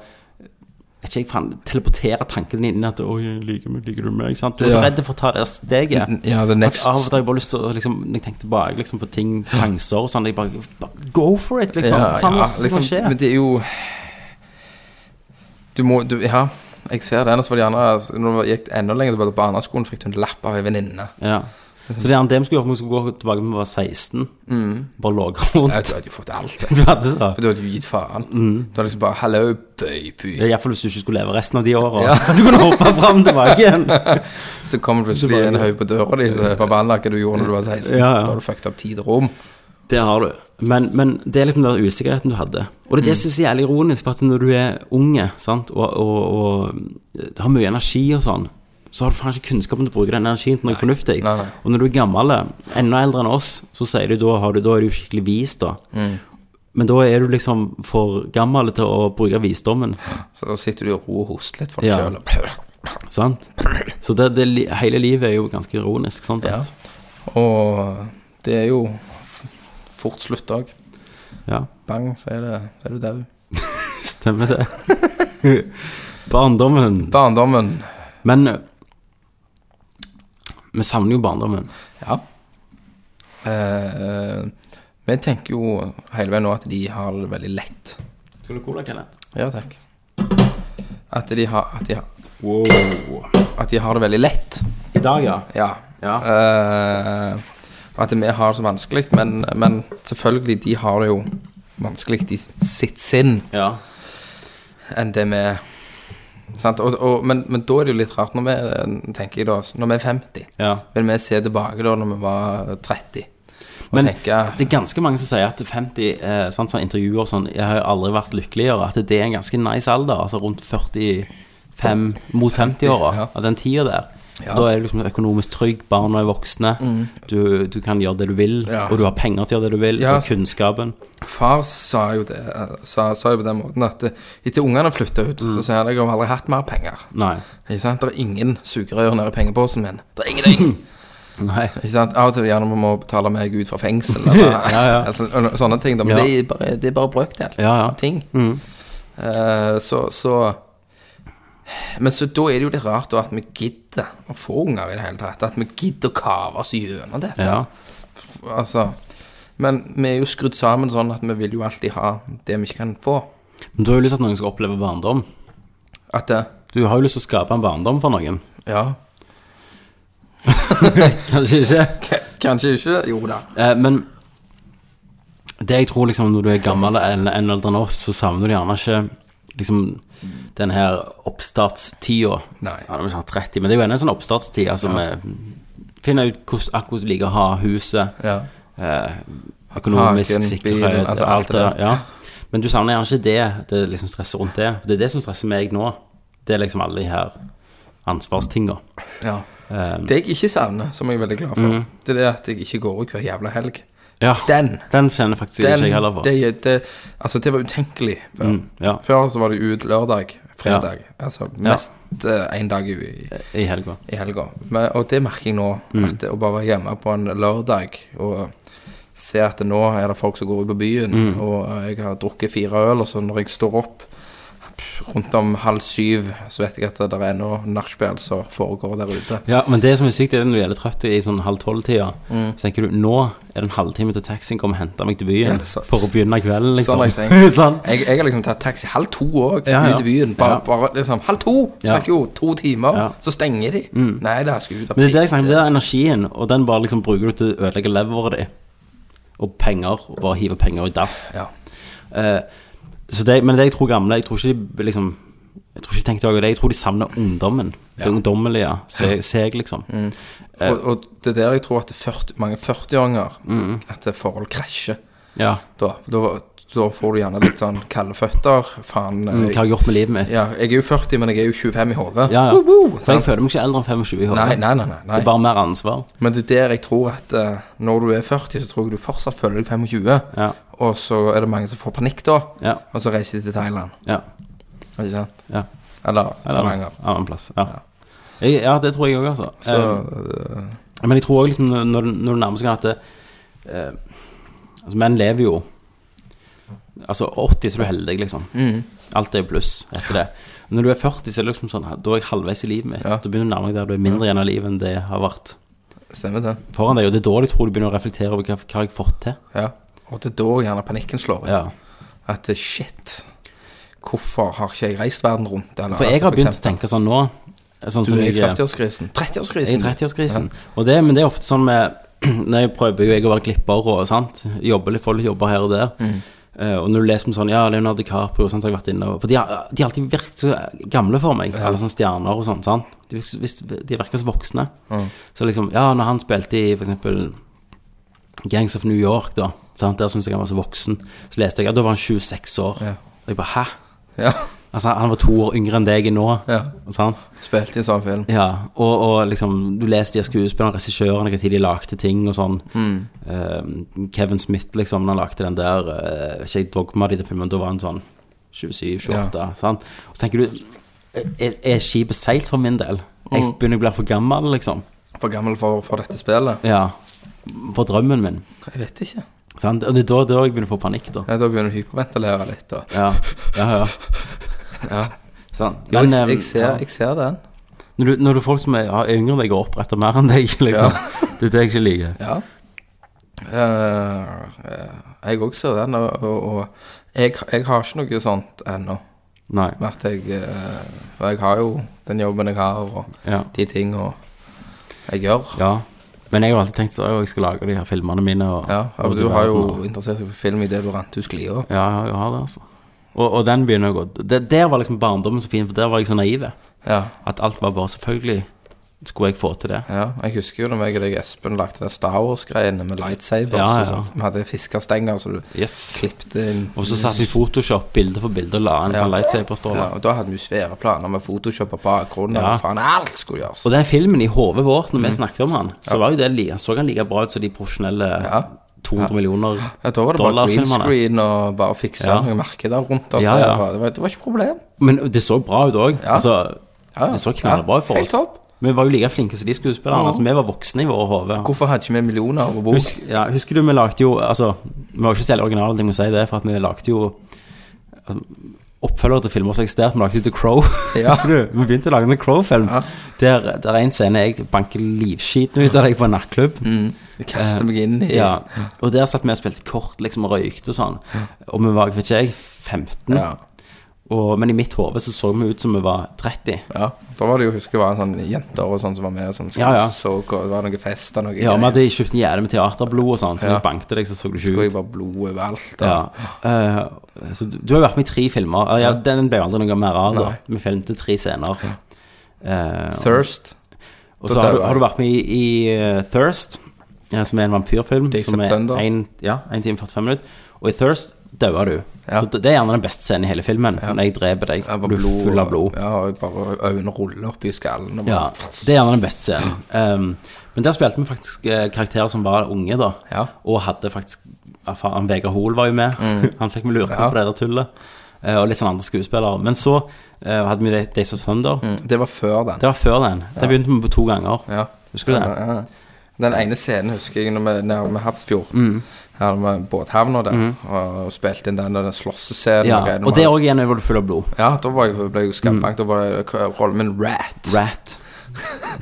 S1: vet ikke, jeg faen, teleportere tanken din inn at Oi, jeg liker meg, liker du meg? Sant? Du er så
S5: Ja.
S1: redd for å ta det steget.
S5: N- ja, the next-
S1: At Av og til har jeg bare lyst til å liksom, Når jeg tenker tilbake liksom, på ting, sjanser og sånn jeg bare, bare Go for it, liksom.
S5: Ja,
S1: faen,
S5: ja,
S1: masse
S5: liksom,
S1: som skjer.
S5: men det er jo Du må du, Ja, jeg ser det. Ellers var det gjerne altså, Når det gikk enda lenger tilbake på barneskolen, fikk du en lapp av ei venninne.
S1: ja. Så det er det vi skulle gjøre, vi skulle gå tilbake da vi var 16. Bare lå
S5: Mm. Jeg
S1: rundt.
S5: vet, Du hadde jo fått alt.
S1: Du hadde så.
S5: For du hadde jo gitt faen.
S1: Mm.
S5: Du hadde liksom bare 'Hallo, baby'.
S1: Iallfall hvis du ikke skulle leve resten av de åra. Du kunne hoppe fram og tilbake igjen.
S5: Så kommer plutselig en haug på døra di som er forbanna hva du gjorde når du var 16.
S1: Ja, ja.
S5: Da har du fucket opp tid og rom.
S1: Det har du. Men, men det er liksom den der usikkerheten du hadde. Og
S5: Mm.
S1: det er det som er så jævlig ironisk, for at når du er unge sant, og, og, og har mye energi og sånn, så har du faen ikke kunnskapen til å bruke den energien til noe fornuftig.
S5: Nei, nei.
S1: Og når du er gammel, enda eldre enn oss, så sier du da, har du, da er du skikkelig vis, da.
S5: Mm.
S1: Men da er du liksom for gammel til å bruke visdommen,
S5: Så da sitter du i ro og hoster litt for deg
S1: Ja.
S5: selv
S1: sant? Så det, det, li- hele livet er jo ganske ironisk, sånn
S5: Ja.
S1: sett.
S5: Og det er jo f- fort slutt òg.
S1: Ja.
S5: Bang, så er, det, så er du død.
S1: Stemmer det. Barndommen.
S5: Barndommen.
S1: Men eh, vi savner jo barndommen.
S5: Ja. Eh, vi tenker jo hele veien nå at de har det veldig lett.
S1: Skal du cola, Kenneth?
S5: Ja, takk. At de har, at de har,
S1: Wow.
S5: at de har det veldig lett.
S1: I dag, ja.
S5: Ja.
S1: Ja.
S5: Eh, at vi har det så vanskelig, men, men selvfølgelig, de har det jo vanskelig i sitt sinn
S1: ja.
S5: enn det vi sant? Og, og, men, men da er det jo litt rart, når vi, eh, tenker jeg da, når vi er 50,
S1: Ja.
S5: vil vi se tilbake da når vi var 30, og
S1: Men
S5: tenke
S1: det er ganske mange som sier at 50 eh, sånn, sånn intervjuer og sånn Jeg har jo aldri vært lykkeligere. At det er en ganske nice alder. Altså rundt 45 mot 50-åra.
S5: Ja.
S1: Av den tida der.
S5: Ja. Mm.
S1: Da er du liksom økonomisk trygg, barna er voksne, du, du kan gjøre det du vil,
S5: Ja.
S1: og du har penger til å gjøre det du vil,
S5: Ja.
S1: du har kunnskapen.
S5: Far sa jo det eh, sa, sa jo på den måten at eh, etter ungene flytta ut,
S1: Mm.
S5: så sier han at jeg har aldri hatt mer penger.
S1: Nei.
S5: Ikke sant? Det er ingen sugerør nede i pengeposen min. Det er ingenting!
S1: Mm. Nei.
S5: Ikke sant? Av og til gjerne må betale meg ut fra fengsel eller
S1: Ja, ja.
S5: Altså, og no- sånne ting. Da. Men
S1: Ja.
S5: det, er bare, det er bare brøkdel
S1: Ja, ja. Mm.
S5: av ting. Eh, så, så Men så da er det jo litt rart da, at vi gidder å få unger i det hele tatt. At vi gidder å kave oss gjennom dette.
S1: Ja.
S5: F- Altså, men vi er jo skrudd sammen sånn at vi vil jo alltid ha det vi ikke kan få.
S1: Men du har jo lyst til at noen skal oppleve barndom.
S5: At det
S1: Du har jo lyst til å skape en barndom for noen.
S5: Ja,
S1: Kanskje ikke?
S5: k- kanskje ikke. Jo da.
S1: Eh, men det jeg tror liksom når du er gammel eller enn eldre enn oss, så savner du gjerne ikke liksom den her oppstartstida.
S5: Nei.
S1: Ja, det er sånn 30, men det er jo ennå en sånn oppstartstid. Altså med Finne ut hvordan, akkurat du liker å ha huset.
S5: Ja.
S1: Eh, økonomisk
S5: Haken,
S1: sikkerhet,
S5: bilen, altså alt det der.
S1: Ja. Men du savner gjerne ikke det, det liksom stresset rundt det. For det er det som stresser meg nå. Det er liksom alle de her ansvarstinga.
S5: ja.
S1: Eh,
S5: Det jeg ikke savner, som jeg er veldig glad
S1: Mhm.
S5: for, det er det at jeg ikke går ut hver jævla helg.
S1: ja,
S5: Den
S1: den kjenner faktisk
S5: Den-
S1: ikke jeg heller Mm. på.
S5: Det, det, altså, det var utenkelig før.
S1: ja.
S5: Før så var det ut lørdag, fredag. Altså mest én dag i,
S1: I helga.
S5: i helga. Men, og det merker jeg nå.
S1: Mm.
S5: At det, å bare være hjemme på en lørdag og se at nå er det folk som går ut på byen,
S1: Mm.
S5: og jeg har drukket fire øl, og så når jeg står opp rundt om halv syv, så vet jeg at det er noe nachspiel som foregår der ute.
S1: Ja, men det som er sykt, er når du er litt trøtt i sånn halv tolv-tida. Så tenker du nå er det en halvtime til taxien kommer og henter meg til byen
S5: Mm. Ja, det er så-
S1: for å begynne kvelden, liksom.
S5: Sånn har jeg tenkt.
S1: Sånn.
S5: Jeg, jeg har liksom tatt taxi halv to òg,
S1: Ja, ja.
S5: ut i byen. Bare,
S1: Ja.
S5: bare liksom Halv to!
S1: Ja.
S5: Snakker jo to timer,
S1: Ja. Mm.
S5: så stenger de. Nei, det her skal ut av
S1: Men det er det jeg snakker om, det er energien, og den bare liksom bruker du til å ødelegge leveret di. Og penger, og bare hive penger i dass.
S5: Ja.
S1: Eh, så det, men det jeg tror gamle Jeg tror ikke de liksom Jeg tror ikke de tenkte over det, jeg tror de savner ungdommen. Det ungdommelige. Se- Seg, liksom.
S5: Mm. Og, og det er der jeg tror at det 40, mange 40-åringer
S1: Mm.
S5: At det forhold krasjer.
S1: Ja.
S5: Da, da, da får du gjerne litt sånn kalde føtter. Faen. eh,
S1: Mm, Hva har jeg gjort med livet mitt?
S5: ja, jeg er jo 40, men jeg er jo 25 i hodet.
S1: Ja, ja.
S5: Woho!
S1: Så jeg
S5: Sant?
S1: føler meg ikke eldre enn 25 i
S5: Nei,
S1: hodet.
S5: nei, nei. nei,
S1: Det
S5: nei.
S1: er bare mer ansvar.
S5: Men det er der jeg tror at eh, når du er 40, så tror jeg du fortsatt føler deg 25.
S1: Ja.
S5: Og så er det mange som får panikk da,
S1: Ja.
S5: og så reiser de til Thailand.
S1: ja.
S5: Ikke sant?
S1: Ja.
S5: Eller
S1: Eller
S5: Stavanger.
S1: annen- annen plass. Ja. Jeg, ja, det tror jeg òg, altså.
S5: Så
S1: Eh, men jeg tror òg liksom, når, når det nærmer seg at det, eh, altså, Menn lever jo Altså 80 så er du heldig, liksom.
S5: eh, mm,
S1: Alt er pluss etter det. Når du er 40, så er det liksom sånn Da er jeg halvveis i livet mitt.
S5: Ja.
S1: Da begynner du å nærme deg der du er mindre igjen av livet enn det har vært
S5: stemmer det.
S1: foran deg. Og det er da du tror du begynner å reflektere over hva, hva har jeg fått til.
S5: Ja. Og det er da gjerne panikken slår inn.
S1: Ja.
S5: At eh, shit, hvorfor har ikke jeg reist verden rundt? Eller,
S1: For jeg
S5: altså,
S1: har begynt å
S5: eksempel,
S1: tenke sånn nå. Sånn som
S5: Du er i
S1: jeg, Jeg
S5: 40-årskrisen.
S1: er
S5: 30-årskrisen.
S1: i 30-årskrisen. Og det, men det er ofte sånn med Når jeg prøver jo jeg å være klipper og sant Jobber litt, får litt jobber her og der. Eh, og når du leser om sånn Ja, Leonardo DiCaprio sant, har jeg vært inne og For de har, de har alltid virket så gamle for meg. Alle sånne stjerner og sånn. sant De, virker så- hvis- de virker så voksne. Så liksom Ja, når han spilte i for eksempel Gangs of New York, da. Sant? Der syntes jeg han var så voksen. Så leste jeg at ja, da var han 26 år.
S5: Ja.
S1: Og jeg bare Hæ?
S5: Ja.
S1: Altså, han var to år yngre enn deg nå.
S5: Ja.
S1: Sant?
S5: Spilte i en sånn film.
S1: Ja, og, og liksom Du leser de her skuespillerne, regissørene, hva tid de lagde ting og sånn.
S5: Mm.
S1: Eh, Kevin Smith, liksom, når han lagde den der eh, vet Ikke jeg dogma de til filmen, da var han sånn 27-28. sant? Og så tenker du Er, er skipet seilt for min del? Jeg
S5: Mm.
S1: begynner å bli for gammel, liksom.
S5: For gammel for, for dette spillet.
S1: Ja. For drømmen min.
S5: Jeg vet ikke.
S1: Sant? Og det er da, da jeg begynner å få panikk, da.
S5: Ja, da begynner du å hyperventilere litt. Da.
S1: Ja, ja, ja. Sånn.
S5: Jo,
S1: Men,
S5: jeg,
S1: eh,
S5: jeg, ser, jeg ser den.
S1: Når, du, når du folk som er, er yngre enn deg, og oppretter mer enn deg, liksom. Det er det jeg ikke liker.
S5: Ja. Eh, eh, jeg òg ser den, og, og, og jeg, jeg har ikke noe sånt ennå.
S1: Nei.
S5: med at jeg eh, For jeg har jo den jobben jeg har, og
S1: Ja.
S5: de tingene jeg gjør. Ja,
S1: Ja, men jeg har alltid tenkt så at jeg skal lage de her filmene mine. Og,
S5: for
S1: og
S5: du har
S1: verden,
S5: jo
S1: og-
S5: interessert deg for film idet du rant ut sklia.
S1: Ja, jeg har- jeg har det, altså. Og, og den begynner å gå. Det, der var liksom barndommen så fin, for der var jeg så naiv.
S5: Ja.
S1: At alt var bare selvfølgelig. skulle jeg få til det.
S5: Ja, jeg husker jo da jeg og deg, Espen, lagde det Star Wars-greiene med lightsabers.
S1: Ja, ja.
S5: og sånn. Vi hadde fiskestenger, så du
S1: Yes.
S5: klippte inn
S1: Og så satte vi Photoshop bilde på bilde og la sånn inn fra
S5: ja,
S1: lightsaberstråler.
S5: og Da hadde vi jo svære planer med Photoshop og bakgrunnen.
S1: Ja.
S5: og Faen, alt skulle gjøres.
S1: Og den filmen i hodet vårt,
S5: Mm.
S1: når vi snakket om han, så var jo det, li- så han like bra ut som de profesjonelle 200 millioner
S5: Ja, da var det bare green
S1: dollarfilmerne.
S5: screen og bare fikse
S1: Ja.
S5: noen merkeder rundt. Altså,
S1: Ja, ja.
S5: Det, var, det, var, det var ikke problem.
S1: Men det så bra ut òg. Altså,
S5: Ja, ja.
S1: det så knallbra ut for
S5: Ja,
S1: oss.
S5: helt topp.
S1: Vi var jo like flinke som de skuespillerne. Altså, vi var voksne i våre hoder.
S5: Hvorfor hadde ikke vi millioner på bordet?
S1: Husk, ja, husker du vi lagde jo Altså, vi var jo ikke så jævlig originale, jeg må si det, for at vi lagde jo altså, oppfølgere til filmer som eksisterte. Vi lagde jo The Crow.
S5: Ja.
S1: Husker du? Vi begynte å lage en The Crow-film.
S5: Ja.
S1: Der, der er en scene jeg banker livskiten ut av deg på en nattklubb.
S5: Mm. Jeg kastet meg inn i
S1: Eh, Ja. Og der satt vi og spilte kort liksom, og røykte og sånn. Og vi var, vet ikke jeg, 15.
S5: Ja.
S1: Og, men i mitt hode så så vi ut som vi var 30.
S5: ja. Da var det jo, husker jeg, var sånn jenter og sånn som var med. og Sånn,
S1: Ja, ja.
S5: Så, og det var noen fester og noe
S1: Ja, vi
S5: greier.
S1: hadde kjøpt en gjerde med teaterblod og sånn, så
S5: Ja.
S1: vi bankte deg, så så du
S5: Så
S1: ikke
S5: går
S1: ut.
S5: jeg bare blod overalt. da.
S1: Ja. Eh, så du, du har jo vært med i tre filmer. Eller, ja, den ble jo aldri noe mer av, da. Vi filmte tre scener. Eh,
S5: Thirst.
S1: og så
S5: da
S1: har
S5: dør
S1: du,
S5: jeg.
S1: har du vært med i, i eh, Thirst, ja, som er en vampyrfilm.
S5: Days
S1: Som
S5: of
S1: er
S5: Thunder.
S1: 1 ja, en time og 45 minutter. Og i Thirst dauer du.
S5: Ja.
S1: Så det det er gjerne den beste scenen i hele filmen, når jeg dreper deg.
S5: Jeg var
S1: Du er
S5: blod,
S1: full av blod.
S5: Ja, og jeg bare øynene ruller opp i skallen. Og
S1: Ja,
S5: bare,
S1: det er gjerne den beste scenen. Ehm, men der spilte vi faktisk eh, karakterer som var unge, da.
S5: Ja.
S1: Og hadde faktisk ja, faen, Vegard Hoel var jo med. Han fikk vi lurt på
S5: Mm. Ja.
S1: på det der tullet. Eh, og litt sånn andre skuespillere. Men så eh, hadde vi Days of Thunder.
S5: mm, Det var før den.
S1: Det var før den. Det begynte vi på to ganger.
S5: Ja.
S1: Husker du det?
S5: Ja, ja. Den ene scenen husker jeg når vi nærme Hafrsfjord.
S1: Mm.
S5: Her med båthavna der. Og spilte inn den og den slåssescenen.
S1: Ja,
S5: greiene.
S1: og det òg igjen var du full av blod.
S5: Ja, da var jeg, ble jeg jo skambank. Da var det k- rollen min Rat.
S1: Rat.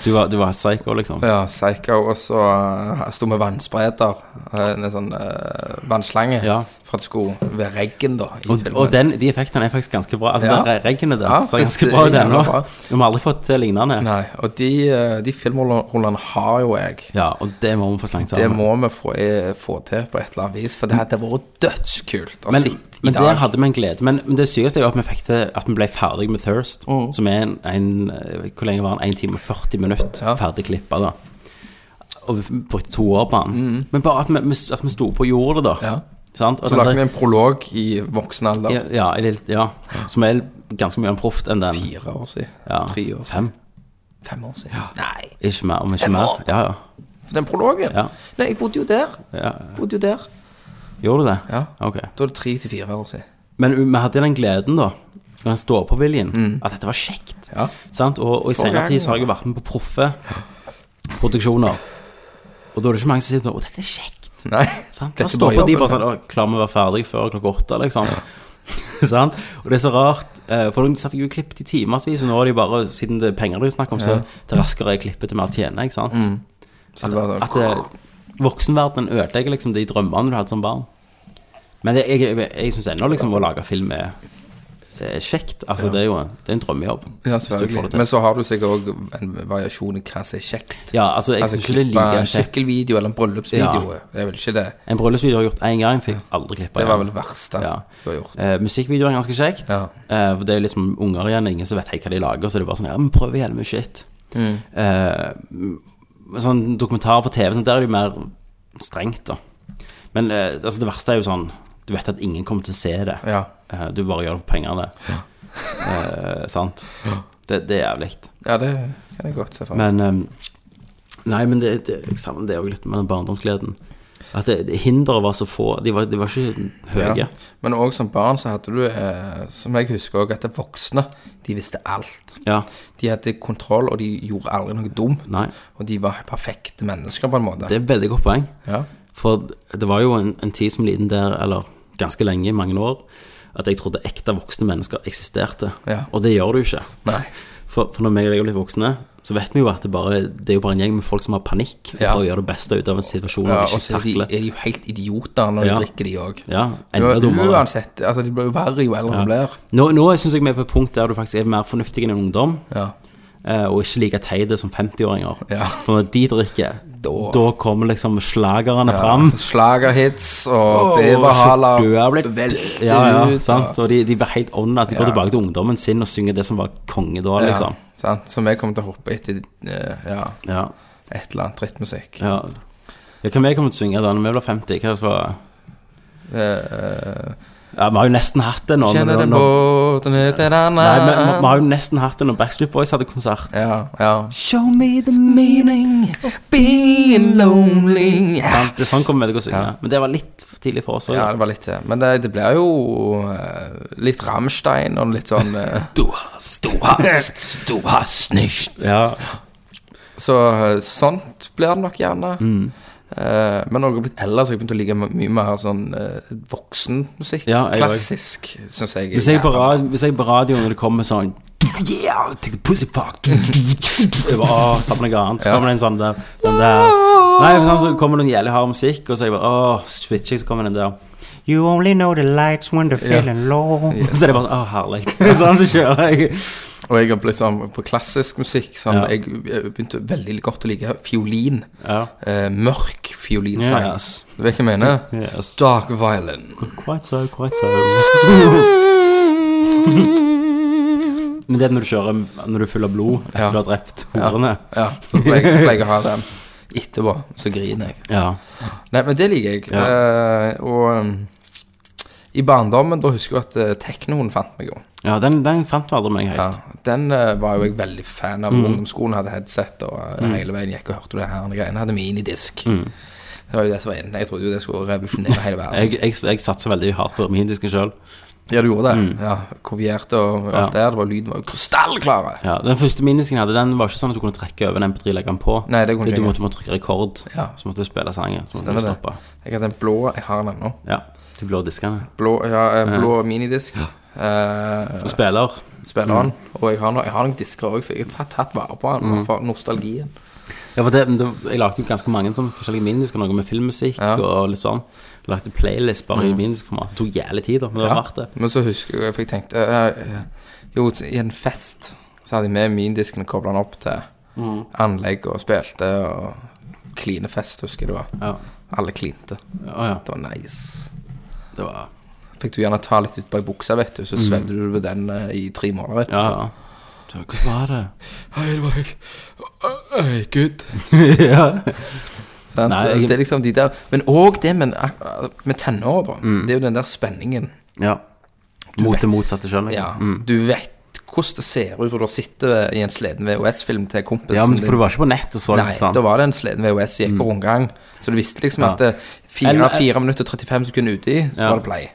S1: Du var, du var psycho, liksom.
S5: Ja, Psycho. Og så eh, sto med vannspreder. eh, En sånn eh, vannslange.
S1: Ja.
S5: For at det skulle være regn, da. I
S1: Og, og den, de effektene er faktisk ganske bra. Altså,
S5: Ja.
S1: det er reggene der
S5: Ja,
S1: ser ganske
S5: det er
S1: bra ut
S5: jævla
S1: ennå.
S5: bra.
S1: Vi har aldri fått til lignende.
S5: Nei, og de, eh, de filmrollene har jo jeg.
S1: Ja, og det må vi få slengt
S5: Det
S1: sammen.
S5: må vi få, eh, få til på et eller annet vis, for det hadde vært dødskult å
S1: Men,
S5: sitte i
S1: men der
S5: dag.
S1: hadde vi en glede. Men, men det sykeste er jo at vi fikk til at vi ble ferdig med Thirst,
S5: Mm.
S1: som er en, en eh, Hvor lenge var den? 1 time og 40 minutter
S5: Ja.
S1: ferdig klippa, da. Og vi brukte to år på den. Men bare at vi, vi- at vi sto på og gjorde det, da.
S5: Mm. Ja.
S1: Sant? Og
S5: Så
S1: den
S5: lagde vi
S1: der-
S5: en prolog i voksen alder.
S1: ja, ja, i det- ja, som er ganske mye mer proft enn den.
S5: Fire år siden.
S1: Ja.
S5: Tre år siden.
S1: Fem.
S5: Fem år siden. Nei.
S1: Ikke mer, om ikke
S5: Fem
S1: mer.
S5: år?
S1: Ja, ja.
S5: For den prologen.
S1: Ja.
S5: Nei, jeg bodde jo der.
S1: ja.
S5: Bodde jo der.
S1: Gjorde du det?
S5: Ja.
S1: Ok.
S5: Da er det tre til fire år siden.
S1: Men vi hadde den gleden, da. Og den stå-på-viljen. At dette var kjekt.
S5: Mm. Ja.
S1: Sant? Og, og i
S5: For
S1: senere
S5: gang,
S1: tid så har jeg jo vært med på proffe produksjoner. Og da er det ikke mange som sier Å, dette er kjekt.
S5: Nei.
S1: Sant?
S5: Dette
S1: Da står
S5: var
S1: på de
S5: jobben.
S1: bare sånn Å, klarer vi å være ferdig før klokka åtte, liksom? sant? Og det er så rart. eh, For de satt jo og klippet i timevis, og nå er det jo bare Siden det er penger det er snakk om, så det raskere jeg klipper, til mer tjener, ikke sant?
S5: Mm, Så det var sånn,
S1: At eh, voksenverdenen ødelegger liksom de drømmene du hadde som barn. Men det, jeg, jeg, jeg syns ennå liksom å lage film er, er kjekt. Altså, det er jo en, det er en drømmejobb.
S5: ja,
S1: hvis du får det
S5: selvfølgelig.
S1: til.
S5: Men så har du sikkert òg en variasjon i hva som er kjekt.
S1: Ja, altså, jeg
S5: Altså
S1: synes ikke det er
S5: klippe
S1: like
S5: en
S1: kjekt.
S5: sykkelvideo eller en bryllupsvideo. Det er vel ikke det.
S1: En bryllupsvideo jeg har gjort én gang, så jeg aldri klipper
S5: Det var vel det verste
S1: Ja.
S5: du har gjort.
S1: Eh, musikkvideo er ganske kjekt.
S5: Ja.
S1: Eh, for det er jo liksom unger igjen, ingen som vet helt hva de lager. Så det er bare sånn Ja, men prøv igjen med shit.
S5: Mm.
S1: Eh, men sånn dokumentar for TV, sånn, der er det jo mer strengt, da. Men eh, altså, det verste er jo sånn Du vet at ingen kommer til å se det.
S5: Ja.
S1: Eh, du bare gjør det for pengene. Eh, sant? Det, det er jævlig.
S5: ja, det kan jeg godt se for meg.
S1: Men eh, Nei, men det, det, jeg savner det òg litt med den barndomsgleden. At det, det hinderet var så få. De var, de var ikke høye.
S5: Ja. Men òg som barn så hadde du, eh, som jeg husker òg, at de voksne, de visste alt.
S1: Ja.
S5: De hadde kontroll, og de gjorde aldri noe dumt.
S1: Nei.
S5: Og de var perfekte mennesker, på en måte.
S1: Det er et veldig godt poeng.
S5: Ja.
S1: For det var jo en, en tid som liten der, eller ganske lenge, i mange år, at jeg trodde ekte voksne mennesker eksisterte.
S5: Ja.
S1: Og det gjør du ikke.
S5: Nei.
S1: For, for når vi og deg blir voksne, så vet vi jo at det, bare, det er jo bare en gjeng med folk som har panikk, og
S5: Ja.
S1: prøver å gjøre det beste ut av en situasjon
S5: Ja,
S1: og
S5: og
S1: ikke
S5: så er de, e-
S1: takle.
S5: er de jo helt idioter når de
S1: Ja.
S5: drikker, de òg.
S1: Ja, enda dummere.
S5: Uansett. Altså, de blir jo verre jo eldre de blir.
S1: Nå, nå syns jeg vi er på et punkt der du faktisk er mer fornuftig enn en ungdom,
S5: Ja.
S1: eh, og ikke like teite som 50-åringer.
S5: Ja.
S1: For når de drikker,
S5: da
S1: Da kommer liksom slagerne fram.
S5: ja, Slagerhits og
S1: Åh,
S5: beverhaler
S1: Du er blitt
S5: velter
S1: Ja, ja,
S5: ut,
S1: sant. Og de, de var helt on at de går
S5: Ja.
S1: tilbake til ungdommen sin og synger det som var konge da,
S5: og-
S1: liksom.
S5: Ja, sant? Så vi kommer til å hoppe etter eh, ja,
S1: Ja.
S5: et eller annet drittmusikk.
S1: ja. ja hva vi kommer til å synge da når vi blir 50? Hva så?
S5: Eh,
S1: Ja, vi har jo nesten hatt det nå. men
S5: Kjenner
S1: nå-
S5: den
S1: nå-
S5: båten ut i den
S1: Nei, vi, vi vi har jo nesten hatt det når Backstreet Boys hadde konsert.
S5: Ja, ja.
S1: Show me the meaning
S5: Being lonely
S1: Sant, det er sånn kommer vi til å synge.
S5: Ja.
S1: Men det var litt for tidlig for oss. også.
S5: Ja, det var litt det. Men det, det blir jo eh, litt Rammstein og litt sånn eh,
S1: Du hast, du
S5: du hast nicht.
S1: Ja,
S5: Så eh, sånt blir det nok gjerne.
S1: Mm.
S5: Eh, men når jeg har blitt eldre, så har jeg begynt å like mye mer sånn eh, voksenmusikk.
S1: Ja, jeg
S5: Klassisk, syns jeg. er
S1: Hvis jeg, på
S5: jævla-
S1: radio, hvis jeg på radioen når det kommer sånn Yeah, take the pussy fuck Jeg bare, åh, ta på noe annet Så
S5: Ja.
S1: kommer det en sånn der, den der Nei, men sånn, så kommer det noen jævlig hard musikk Og så er jeg bare, åh, switcher jeg, Så kommer den der You only know the lights when they're
S5: Ja.
S1: feeling low Så er det bare sånn, åh, herlig Sånn så kjører jeg
S5: Og jeg har blitt sånn på klassisk musikk sånn,
S1: Ja.
S5: jeg, jeg begynte veldig godt å like fiolin.
S1: Ja,
S5: Eh, mørk fiolinsang.
S1: Yes.
S5: Du vet hva jeg mener?
S1: yes
S5: Dark violin.
S1: Quite so, quite so Men det er når du kjører Når du fyller blod Etter
S5: Ja.
S1: du har drept horene
S5: Ja, så pleier jeg, pleier jeg å ha den etterpå. Så griner jeg.
S1: Ja,
S5: Nei, men det liker jeg. Eh, og um, i barndommen, da husker jeg at eh, teknoen fant meg jo.
S1: ja den, den fant du aldri meg helt Mm.
S5: Ja, den eh, var jo jeg veldig fan av. Ungdomsskolen hadde headset, og eh, hele veien gikk og hørte det her. og greiene. Hadde minidisk.
S1: Mm.
S5: Det var jo det som var inne. Jeg trodde jo det skulle revolusjonere hele verden.
S1: Jeg, jeg, jeg satser veldig hardt på minidisken sjøl.
S5: Ja, du gjorde det. Ja, Kopierte og alt
S1: Mm. Ja.
S5: det der. Det var Lyden var jo krystallklare.
S1: Ja, den første minidisken jeg hadde, den var ikke sånn at du kunne trekke over en MP3 legge den på.
S5: Nei, det kunne
S1: For
S5: ikke
S1: du
S5: jeg.
S1: måtte, måtte trykke rekord,
S5: Ja.
S1: så måtte du spille sangen. Så måtte
S5: Stemmer
S1: du
S5: det.
S1: stoppe.
S5: Jeg hadde en blå Jeg har den ennå.
S1: Ja, De blå diskene.
S5: Blå, ja, eh, blå minidisk. Eh,
S1: Og spiller.
S5: spiller han.
S1: Mm.
S5: Og jeg har, no jeg har noen disker òg, så jeg har tatt, tatt vare på han bare for nostalgien.
S1: Ja, for det, men det, jeg lagde jo ganske mange sånn forskjellige minidisker, noe med filmmusikk
S5: Ja. Mm.
S1: og litt sånn. Jeg lagde playlist bare i minidiskformat. Det tok jævlig tid, da, men det var verdt det.
S5: Men så husker jeg, for jeg tenkte eh, eh, Jo, i en fest så hadde jeg med mindiskene kobla den opp til
S1: Mm.
S5: anlegg og spilte og kline fest, husker jeg det var.
S1: Ja.
S5: Alle klinte.
S1: Å ja.
S5: Det var nice.
S1: Det var
S5: Fikk du gjerne ta litt ut bak buksa, vet du, så svevde du ved den eh, i tre måneder. vet du.
S1: Ja, ja. Så, Hvordan var det?
S5: Hei, det var helt Hei, gud.
S1: ja.
S5: Sant?
S1: Nei,
S5: Så
S1: jeg-
S5: Det er liksom de der Men òg det med, med tenår, da.
S1: Mm.
S5: Det er jo den der spenningen.
S1: ja. Mot det motsatte sjøl.
S5: Ja, du vet hvordan det ser ut, for du sitter i en sleden VHS-film til kompisen
S1: ja, men
S5: din.
S1: for du var ikke på nett og så sånn.
S5: Nei,
S1: sant?
S5: da var det en sleden VHS som gikk på rundgang, så du visste liksom
S1: Ja.
S5: at eh,
S1: Eller-
S5: fire, fire minutter og 35 sekunder uti, så
S1: Ja.
S5: var det play.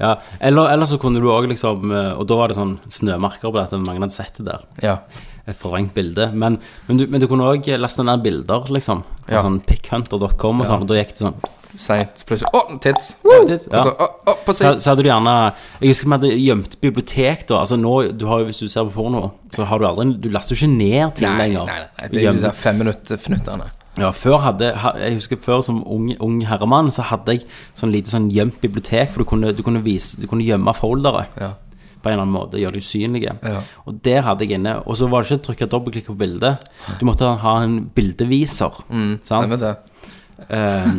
S1: Ja, eller, eller så kunne du òg liksom eh, Og da var det sånn snømerker på dette, mange hadde sett det der.
S5: Ja.
S1: Et forvrengt bilde. Men, men, du, men du kunne òg laste ned bilder, liksom. På
S5: Ja.
S1: Sånn pickhunter.com og sånn, og da gikk det sånn
S5: Seint. Så Plutselig Å, tits!
S1: Ja.
S5: Og så Å, å, på
S1: Så,
S5: siden!
S1: så hadde du gjerne Jeg husker vi hadde gjemt bibliotek, da. Altså nå, du har, jo- Hvis du ser på porno, så har du aldri Du laster jo ikke ned ting
S5: Nei, nei,
S1: lenger.
S5: nei,
S1: Du
S5: nei, det er jo
S1: gjemmer-
S5: de der femminutter-fnutterne.
S1: Ja, før hadde ha- Jeg husker før som ung, ung herremann, så hadde jeg sånn lite sånn gjemt bibliotek, for du kunne, du kunne, vise, du kunne gjemme foldere.
S5: Ja.
S1: På en eller annen måte, gjøre det usynlige.
S5: Ja.
S1: Og der hadde jeg inne. Og så var det ikke å trykke dobbeltklikk på bildet. Du måtte ha en bildeviser.
S5: Mm.
S1: sant?
S5: Stemmer det?
S1: Eh,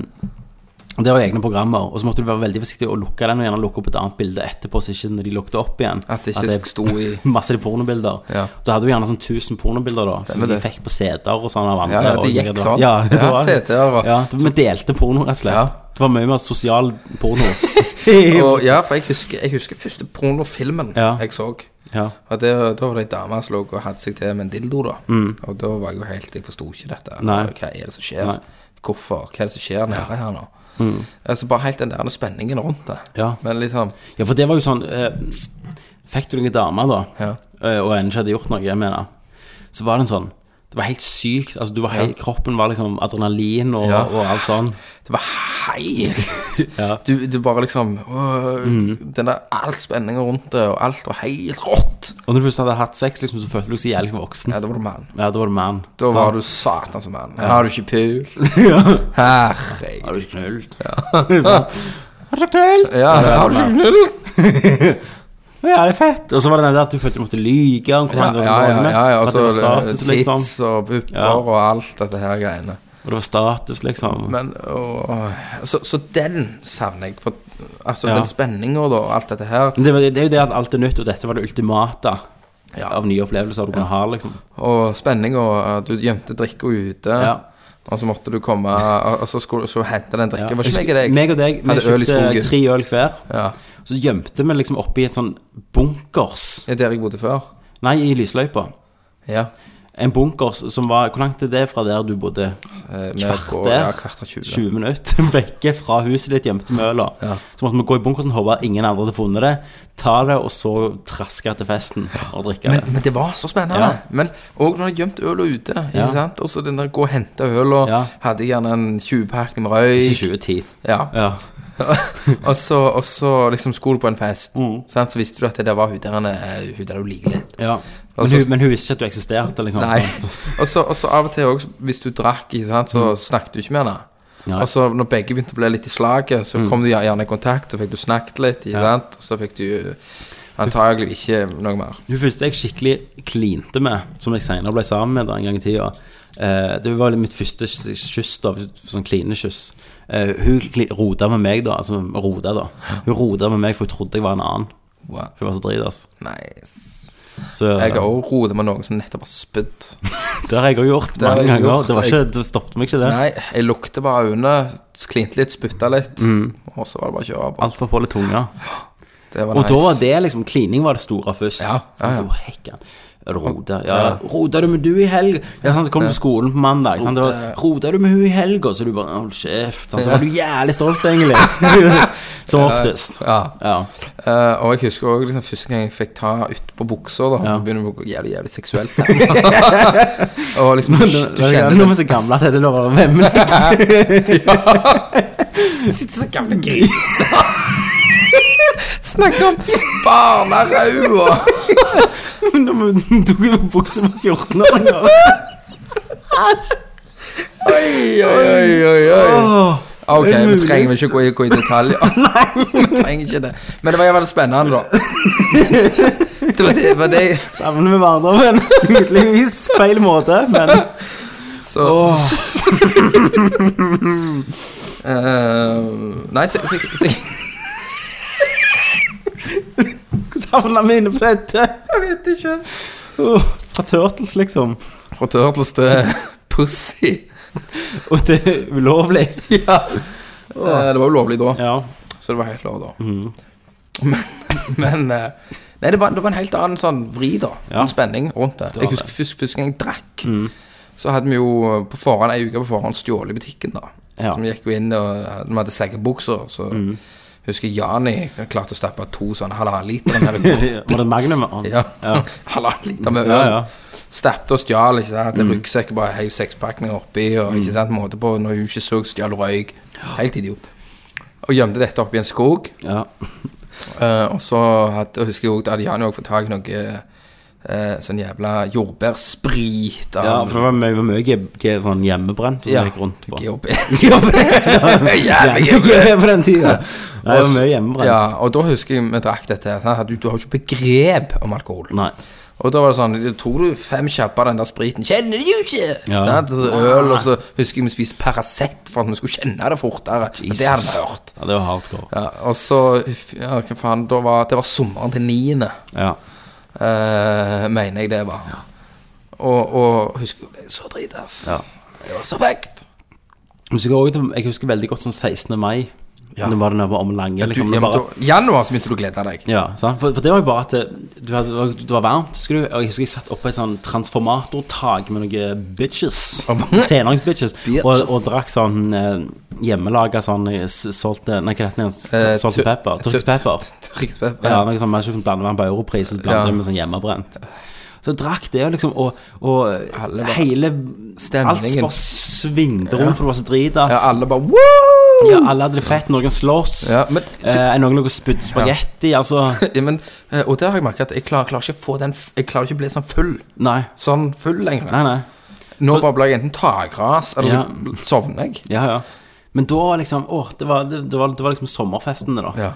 S1: og det var egne programmer. Og så måtte du være veldig forsiktig og lukke den, og gjerne lukke opp et annet bilde etterpå, så ikke når de lukket opp igjen.
S5: At det ikke sto i
S1: Masse de pornobilder.
S5: Ja.
S1: Da hadde vi gjerne sånn 1000 pornobilder, da. Som
S5: Stemmer
S1: vi
S5: det.
S1: fikk på CD-er og sånn av andre.
S5: Ja, ja, det
S1: og-
S5: gikk sånn.
S1: Ja, det
S5: Ja,
S1: var det.
S5: CD-er og-
S1: Ja, det- vi delte porno, rett og slett.
S5: Ja.
S1: Det var mye mer sosial porno.
S5: og, Ja, for jeg husker, jeg husker første pornofilmen
S1: Ja.
S5: jeg så.
S1: ja.
S5: Og det, da var det ei dame som lå og hadde seg til med en dildo, da. Og da var jeg jo helt Jeg forsto ikke dette.
S1: Mm. Nei.
S5: Hva er det som skjer?
S1: Nei. Mm.
S5: Hvorfor? Hva er det som skjer nede her nå? Altså Bare helt den der spenningen rundt det.
S1: Ja.
S5: Men liksom
S1: ja, for det var jo sånn eh, Fikk du noen damer, da,
S5: Ja.
S1: eh, og en ikke hadde gjort noe, jeg mener, så var det en sånn det var helt sykt. altså du var helt, Kroppen var liksom adrenalin og,
S5: Ja.
S1: og alt sånn.
S5: Det var helt
S1: Ja. Mm.
S5: du, du bare liksom øh, Den der Alt spenningen rundt det, og alt var helt rått.
S1: Og når du først hadde hatt sex, liksom, så følte du deg så jævlig voksen.
S5: Ja, da var du mann.
S1: Ja, da var du man.
S5: Da var du satan som mann. Har du ikke pult? Herregud.
S1: Har du knullet? Ja. Har du knullet?
S5: Ja, har du ikke knull?
S1: Å Ja, det er fett. Og så var det den der at du følte du måtte lyge. om hvor
S5: Ja,
S1: mange
S5: ja,
S1: ganger du var
S5: ja, altså,
S1: med,
S5: ja, ja.
S1: for at det var
S5: Altså,
S1: status, liksom.
S5: tits og pupper
S1: Ja.
S5: og alt dette her greiene.
S1: Og det var status, liksom.
S5: Men, og, så, så den savner jeg. For, altså
S1: Ja.
S5: den spenninga og alt dette her.
S1: Men det, var- det er jo det at alt er nytt, og dette var det ultimate
S5: Ja.
S1: av nye opplevelser du kunne ha, liksom.
S5: Og spenninga. Du gjemte drikka ute.
S1: Ja.
S5: Og så måtte du komme Og og så skulle så hente den drikken.
S1: Ja.
S5: Var ikke
S1: Jeg husker-
S5: meg og deg?
S1: meg og deg, vi
S5: hadde øl i
S1: kjøpte
S5: skogen.
S1: tre øl hver.
S5: Ja.
S1: Så gjemte vi liksom oppi et sånn bunkers
S5: Ja, Der jeg bodde før.
S1: Nei, i lysløypa.
S5: Ja.
S1: En bunkers som var Hvor langt er det fra der du bodde?
S5: Eh, med
S1: Kvarter?
S5: gå- Ja, kvarter 20.
S1: 20 minutter vekke fra huset ditt hjemme til Møla.
S5: Ja.
S1: Så måtte vi gå i bunkersen, håpe at ingen andre hadde funnet det, ta det, og så traske til festen og drikke
S5: Men,
S1: det.
S5: men det var så spennende.
S1: Ja.
S5: Men òg når du har gjemt øla ute. Ikke
S1: Ja.
S5: sant? Og så den der gå og hente øla.
S1: Ja.
S5: Hadde gjerne en 20-pakning med røyk.
S1: Ikke 2010.
S5: Ja.
S1: Ja.
S5: og, så, og så liksom skulle du på en fest,
S1: Mm.
S5: sant? så visste du at det der var hun der han er- hun der du liker litt.
S1: ja. Men,
S5: Altså-
S1: hun, men hun visste ikke at du eksisterte, liksom.
S5: Nei.
S1: sånn.
S5: og, så, og så av og til òg, hvis du drakk, ikke sant, så snakket du ikke med henne.
S1: Mm. Nei. Mm.
S5: Og så når begge begynte å bli litt i slaget, så kom du gjerne i kontakt, så fikk du snakket litt, ikke sant. Så fikk du antagelig ikke noe mer.
S1: Hun første jeg skikkelig klinte med, som jeg senere ble sammen med da en gang i tida eh, Det var mitt første s- kyss, da, sånn klinekyss. Eh, hun kli- rota med meg, da. Altså rota, da. Hun rota med meg, for hun trodde jeg var en annen.
S5: What?
S1: Hun var så dritas.
S5: Nice.
S1: Så
S5: Jeg har òg roet med noen som nettopp har spydd.
S1: det har jeg òg gjort
S5: har
S1: mange
S5: jeg
S1: ganger.
S5: gjort.
S1: Det, var ikke, det stoppet meg ikke, det.
S5: Nei, jeg lukter bare øynene, klinte litt, spytta litt,
S1: Mm.
S5: og så var det bare å kjøre på.
S1: Altfor på litt tunga.
S5: Det var
S1: Og
S5: nice.
S1: da var det liksom Klining var det store først.
S5: Ja, ja, ja.
S1: Sånn, da hekken. Roda, ja. Roda du med du i helg? Ja, sant, så kom du på skolen på mandag. Sant, det var, Roda du med hun i helga? Så du bare Hold kjeft. Sant, så var du jævlig stolt, egentlig. Som oftest.
S5: Ja.
S1: Ja.
S5: Eh, og jeg husker også liksom, første gang jeg fikk ta utpå buksa. da
S1: Ja.
S5: Det begynner å gå jævlig, jævlig seksuelt. og liksom,
S1: Nå
S5: du, du
S1: er
S5: kjenner
S1: vi så gamle at det er lov å være vemmelig.
S5: Sitter så gamle griser. Snakker om barnerau og
S1: Når vi tok jo bukse på 14-åringer.
S5: Oi, oi, oi, oi, oi.
S1: Åh.
S5: Ok,
S1: det er
S5: vi
S1: mulig.
S5: trenger vel ikke gå i, gå i detaljer. vi trenger ikke det. Men det var jævlig spennende, da. det var det, var det.
S1: Savner vi barndommen? Tydeligvis feil måte, men
S5: Så, Eh, Nei, så, så, så
S1: savner vi inne på dette?
S5: Jeg vet ikke.
S1: Åh, Fra Turtles, liksom.
S5: Fra Turtles til eh, Pussy.
S1: Og det er ulovlig.
S5: ja. Eh, Det var jo lovlig da,
S1: Ja.
S5: så det var helt lov da.
S1: Mhm.
S5: Men, men eh, Nei, det var, det var en helt annen sånn vri, da.
S1: Ja.
S5: En spenning rundt det.
S1: Det Mhm. var
S5: jeg husker først- Første gang jeg drakk, så hadde vi jo eh, på forhånd ei uke på forhånd stjålet i butikken, da.
S1: Ja. Mhm.
S5: Så vi gikk jo inn og eh, Når vi hadde seggebukser, så husker jeg Jani klarte å stappe to sånne halvannen liter med
S1: Var det Magnum?
S5: Ja. halvannen liter med øl.
S1: Ja, ja.
S5: Stappet og stjal. ikke sant? Mm. Ryggsekk bare heiv sekspakninger oppi. og
S1: Mm.
S5: ikke sant, måte på, Når hun ikke så, stjal hun røyk. Helt idiot. Og gjemte dette oppi en skog.
S1: Ja.
S5: eh, og så hadde, og husker jeg også, da hadde Jan også fått tak i noe eh, sånn jævla jordbærsprit. av-
S1: ja, for det var mye, var mye ge- ge- sånn hjemmebrent som
S5: Ja,
S1: gikk rundt på.
S5: GHB.
S1: Jævlig
S5: Jævlig
S1: ge- ge- på den tida. Nei, det var mye hjemmebrent.
S5: Ja, og da husker jeg vi drakk dette. her, Sant? at Du, du har jo ikke begrep om alkohol.
S1: Nei.
S5: Og da var det sånn, det tok du fem kjappe av den der spriten, kjenner du ikke?
S1: Ja. Ah.
S5: Sant? Og så øl, og så husker jeg vi spiste Paracet for at vi skulle kjenne det fortere. Men det hadde vi hørt.
S1: Ja, det var hardcore.
S5: Ja, og så, ja, hva faen, da var, det var sommeren til 9.
S1: Ja.
S5: eh, mener jeg det var. Og, og husker jeg ble så drit, ass.
S1: Ja.
S5: Det var så fekt.
S1: Men så går jeg til- jeg husker veldig godt sånn 16. mai.
S5: Ja.
S1: Nå var det nede på Omlange.
S5: Du,
S1: Liksom,
S5: ja,
S1: det
S5: men
S1: bare,
S5: da, januar så begynte du å glede deg.
S1: Ja, sant? For, for det var jo bare at det- du hadde, det var- det var varmt, husker du? Og jeg husker jeg satt oppe i et sånn transformatortak med noen eh, bitches. Tenåringsbitches. Og, og drakk sånn eh, hjemmelaga sånn eh, s- salt eh, Nei, hva heter det?
S5: Eh,
S1: igjen? Salt
S5: tu-
S1: and pepper?
S5: tu-
S1: Turkisk pepper.
S5: Turkisk pepper.
S1: Ja, noe sånn man ikke blander med på europris, så blander
S5: Ja.
S1: det med sånn hjemmebrent. Så jeg drakk det, og liksom, og, og
S5: Alle bare-
S1: hele Alt
S5: Stemningen.
S1: bare svingte rundt, for det var så dritass.
S5: Ja, alle bare, woo!
S1: Ja, alle hadde det fett. Noen sloss.
S5: Ja, men-
S1: eh, noen lå og spydde spagetti. Altså
S5: Ja, men, eh, og der har jeg merket at jeg klarer, klarer ikke å få den, f- jeg klarer ikke å bli sånn full.
S1: Nei.
S5: sånn full lenger.
S1: Nei, nei.
S5: Nå bare blir jeg enten takras, eller
S1: Ja.
S5: så bl- sovner jeg.
S1: Ja, ja. Men da var liksom Å, det var, det, det var, det var liksom sommerfestene, da.
S5: Ja.
S1: Og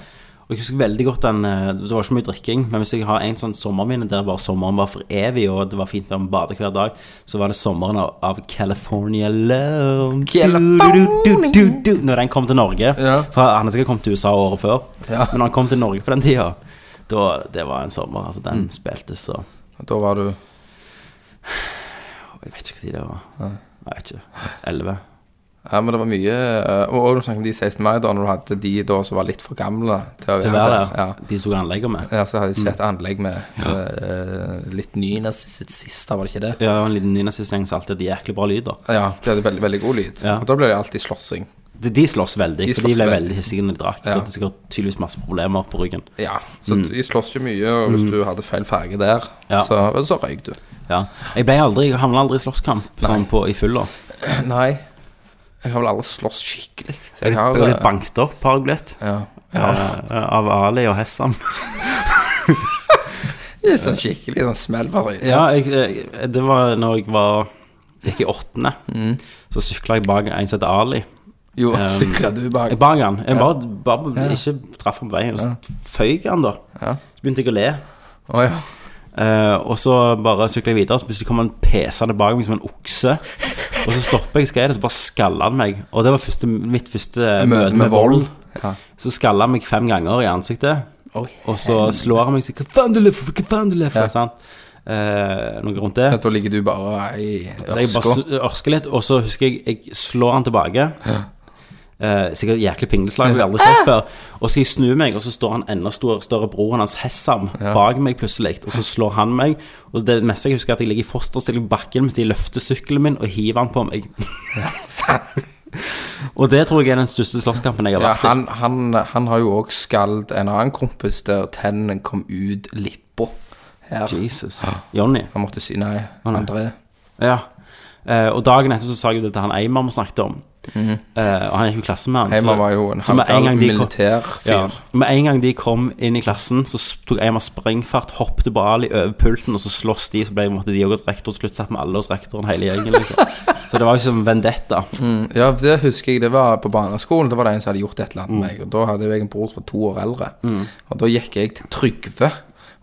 S1: Og Jeg husker veldig godt den eh, Det var ikke mye drikking, men hvis jeg har en sånn sommerminne der bare sommeren var for evig, og det var fint vær med bade hver dag, så var det sommeren av, av California Love.
S5: California.
S1: Du, du, du, du, du, når den kom til Norge.
S5: Ja.
S1: For han hadde sikkert kommet til USA året før,
S5: Ja.
S1: men når han kom til Norge på den tida, da, det var en sommer. Altså, den
S5: Mm.
S1: spilte så
S5: Da var du
S1: Jeg vet ikke når det var. Jeg vet ikke. Elleve.
S5: Ja, men det var mye eh, Og og du snakket om de 16. mai, da, når du hadde de da som var litt for gamle til å
S1: Til Mm. å
S5: være der.
S1: der. De sto i anlegget med.
S5: Ja. ja, så hadde de sett anlegg med eh, litt nynazister, var det ikke det?
S1: Ja, det var en liten nynazistgjeng som alltid hadde jæklig bra lyder.
S5: Ja, de hadde veldig, veldig god lyd.
S1: Ja.
S5: Og da ble det alltid slåssing.
S1: De, de slåss veldig,
S5: De
S1: for de
S5: slåss
S1: ble
S5: veldig.
S1: veldig hissige når de drakk.
S5: Ja.
S1: De hadde sikkert tydeligvis masse problemer på ryggen.
S5: Ja, så de slåss jo mye, og hvis du hadde feil farge der,
S1: Mm. Ja.
S5: så, så røyk du.
S1: Ja. Jeg ble aldri, jeg havna aldri i slåsskamp sånn på, i fylla.
S5: Nei, jeg har vel aldri slåss skikkelig.
S1: Jeg
S5: Jeg har,
S1: ble
S5: eh,
S1: litt banket opp, har jeg blitt.
S5: ja, jeg har
S1: eh, Av Ali og Hessam.
S5: det er sånn skikkelig sånn smell for øynene.
S1: Ja, jeg, eh, det var når jeg var gikk i åttende.
S5: Mm.
S1: Så sykla jeg bak en som heter Ali.
S5: Jo,
S1: Um,
S5: sykla du bak.
S1: Jeg bak han. Jeg bare, bare ikke traff ham på veien. Og så føyk han, da.
S5: Ja.
S1: Så begynte jeg å le.
S5: Å ja.
S1: Eh, og så bare sykler jeg videre, så plutselig kommer han pesende bak meg som en okse. Og så stopper jeg skredet, og så bare skaller han meg. Og det var første, mitt første møte med vold.
S5: Ja.
S1: Så skaller han meg fem ganger i ansiktet,
S5: Oi.
S1: og så slår han meg sånn Hva faen du løper for? Hva faen du løper for?
S5: Ja.
S1: Sant? Eh, noe rundt det.
S5: Da ligger du bare i
S1: Så jeg bare
S5: ørska.
S1: s- ørsker litt, og så husker jeg jeg slår han tilbake. Eh, sikkert jæklig pingleslag, vi har aldri sett før. Og så skal jeg snu meg, og så står han enda større, større broren hans, Hessam, bak meg plutselig. Og så slår han meg. Og det meste jeg husker, er at jeg ligger i fosterstilling på bakken mens de løfter sykkelen min og hiver han på meg.
S5: Sant.
S1: Og det tror jeg er den største slåsskampen jeg har
S5: Ja,
S1: vært i.
S5: han, han, han har jo òg skald en annen kompis der tennene kom ut lippa. Her.
S1: Jesus. Jonny.
S5: Han måtte si nei.
S1: nei.
S5: André.
S1: Ja. Eh, og dagen etter så sa jeg det til han Eimar vi snakket om. Eh, og han gikk jo i klasse med han. så-
S5: Heimar Mhm. var jo en
S1: så med en
S5: halvgal
S1: gang de kom-
S5: militærfyr.
S1: Ja. Med en gang de kom inn i klassen, så tok Eimar springfart, hoppet på Ali over pulten, og så sloss de, så ble måtte de òg hos rektor. Til slutt satt vi alle hos rektoren, hele gjengen, liksom. så det var jo som vendetta.
S5: Mm, Ja, for det husker jeg, det var på barneskolen. Da var det en som hadde gjort et eller
S1: Mm.
S5: annet med meg. Og da hadde jo jeg en bror som var to år eldre. Og da gikk jeg til Trygve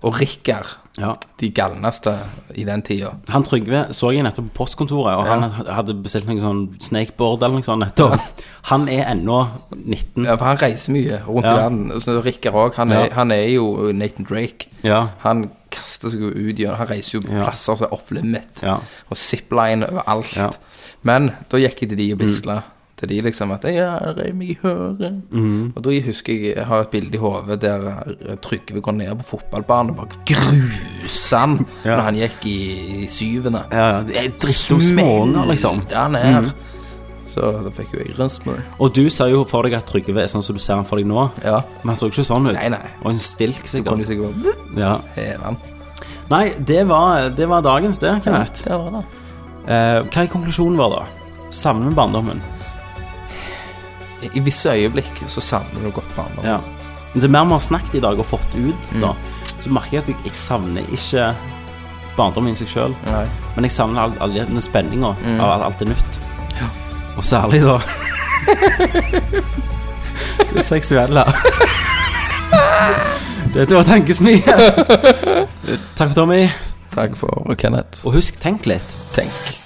S5: og Rikard,
S1: Ja.
S5: de galneste i den tida.
S1: Han Trygve så jeg nettopp på postkontoret, og han hadde bestilt noe sånn snakeboard eller noe sånt nettopp. Han er ennå 19.
S5: Ja, for han reiser mye rundt
S1: Ja.
S5: i verden. Så Rikard òg. Han, er-
S1: Ja.
S5: han er jo Nathan Drake.
S1: Ja.
S5: Han kaster seg jo ut i Han reiser jo på
S1: Ja.
S5: plasser som er off limit.
S1: Ja.
S5: Og zipline overalt.
S1: Ja. Mm.
S5: Men da gikk jeg til de og bisla. Til de liksom at Ja, jeg reiv meg i høret.
S1: Mm.
S5: Og da husker jeg jeg har et bilde i hodet der eh, Trygve går ned på fotballbanen og bare gruser han
S1: Ja.
S5: når han gikk i, i syvende.
S1: Ja, ja, Drittunge småunger, liksom.
S5: Smelte han her. Så da fikk jo jeg rønsmør.
S1: Og du ser jo for deg at Trygve er sånn som du ser han for deg nå,
S5: Ja.
S1: men han så jo ikke sånn ut.
S5: Nei, nei.
S1: Og en stilk,
S5: Kan
S1: sikkert.
S5: du sikkert bare
S1: Ja.
S5: heve han.
S1: Nei, det var, det var dagens, det, Kenneth.
S5: Der var det.
S1: Eh, hva er konklusjonen vår, da? Savner vi barndommen?
S5: I- I visse øyeblikk så savner du godt barndom.
S1: Ja. Men det er mer vi har snakket i dag og fått ut, da, så merker jeg at jeg, jeg savner ikke barndommen i seg sjøl.
S5: Nei.
S1: Men jeg savner all, all den spenninga av alt- alt det nytt. Og særlig da Det seksuelle. Dette var tankesmien. Takk for Tommy.
S5: Takk for Kenneth.
S1: Og husk, tenk litt.
S5: Tenk.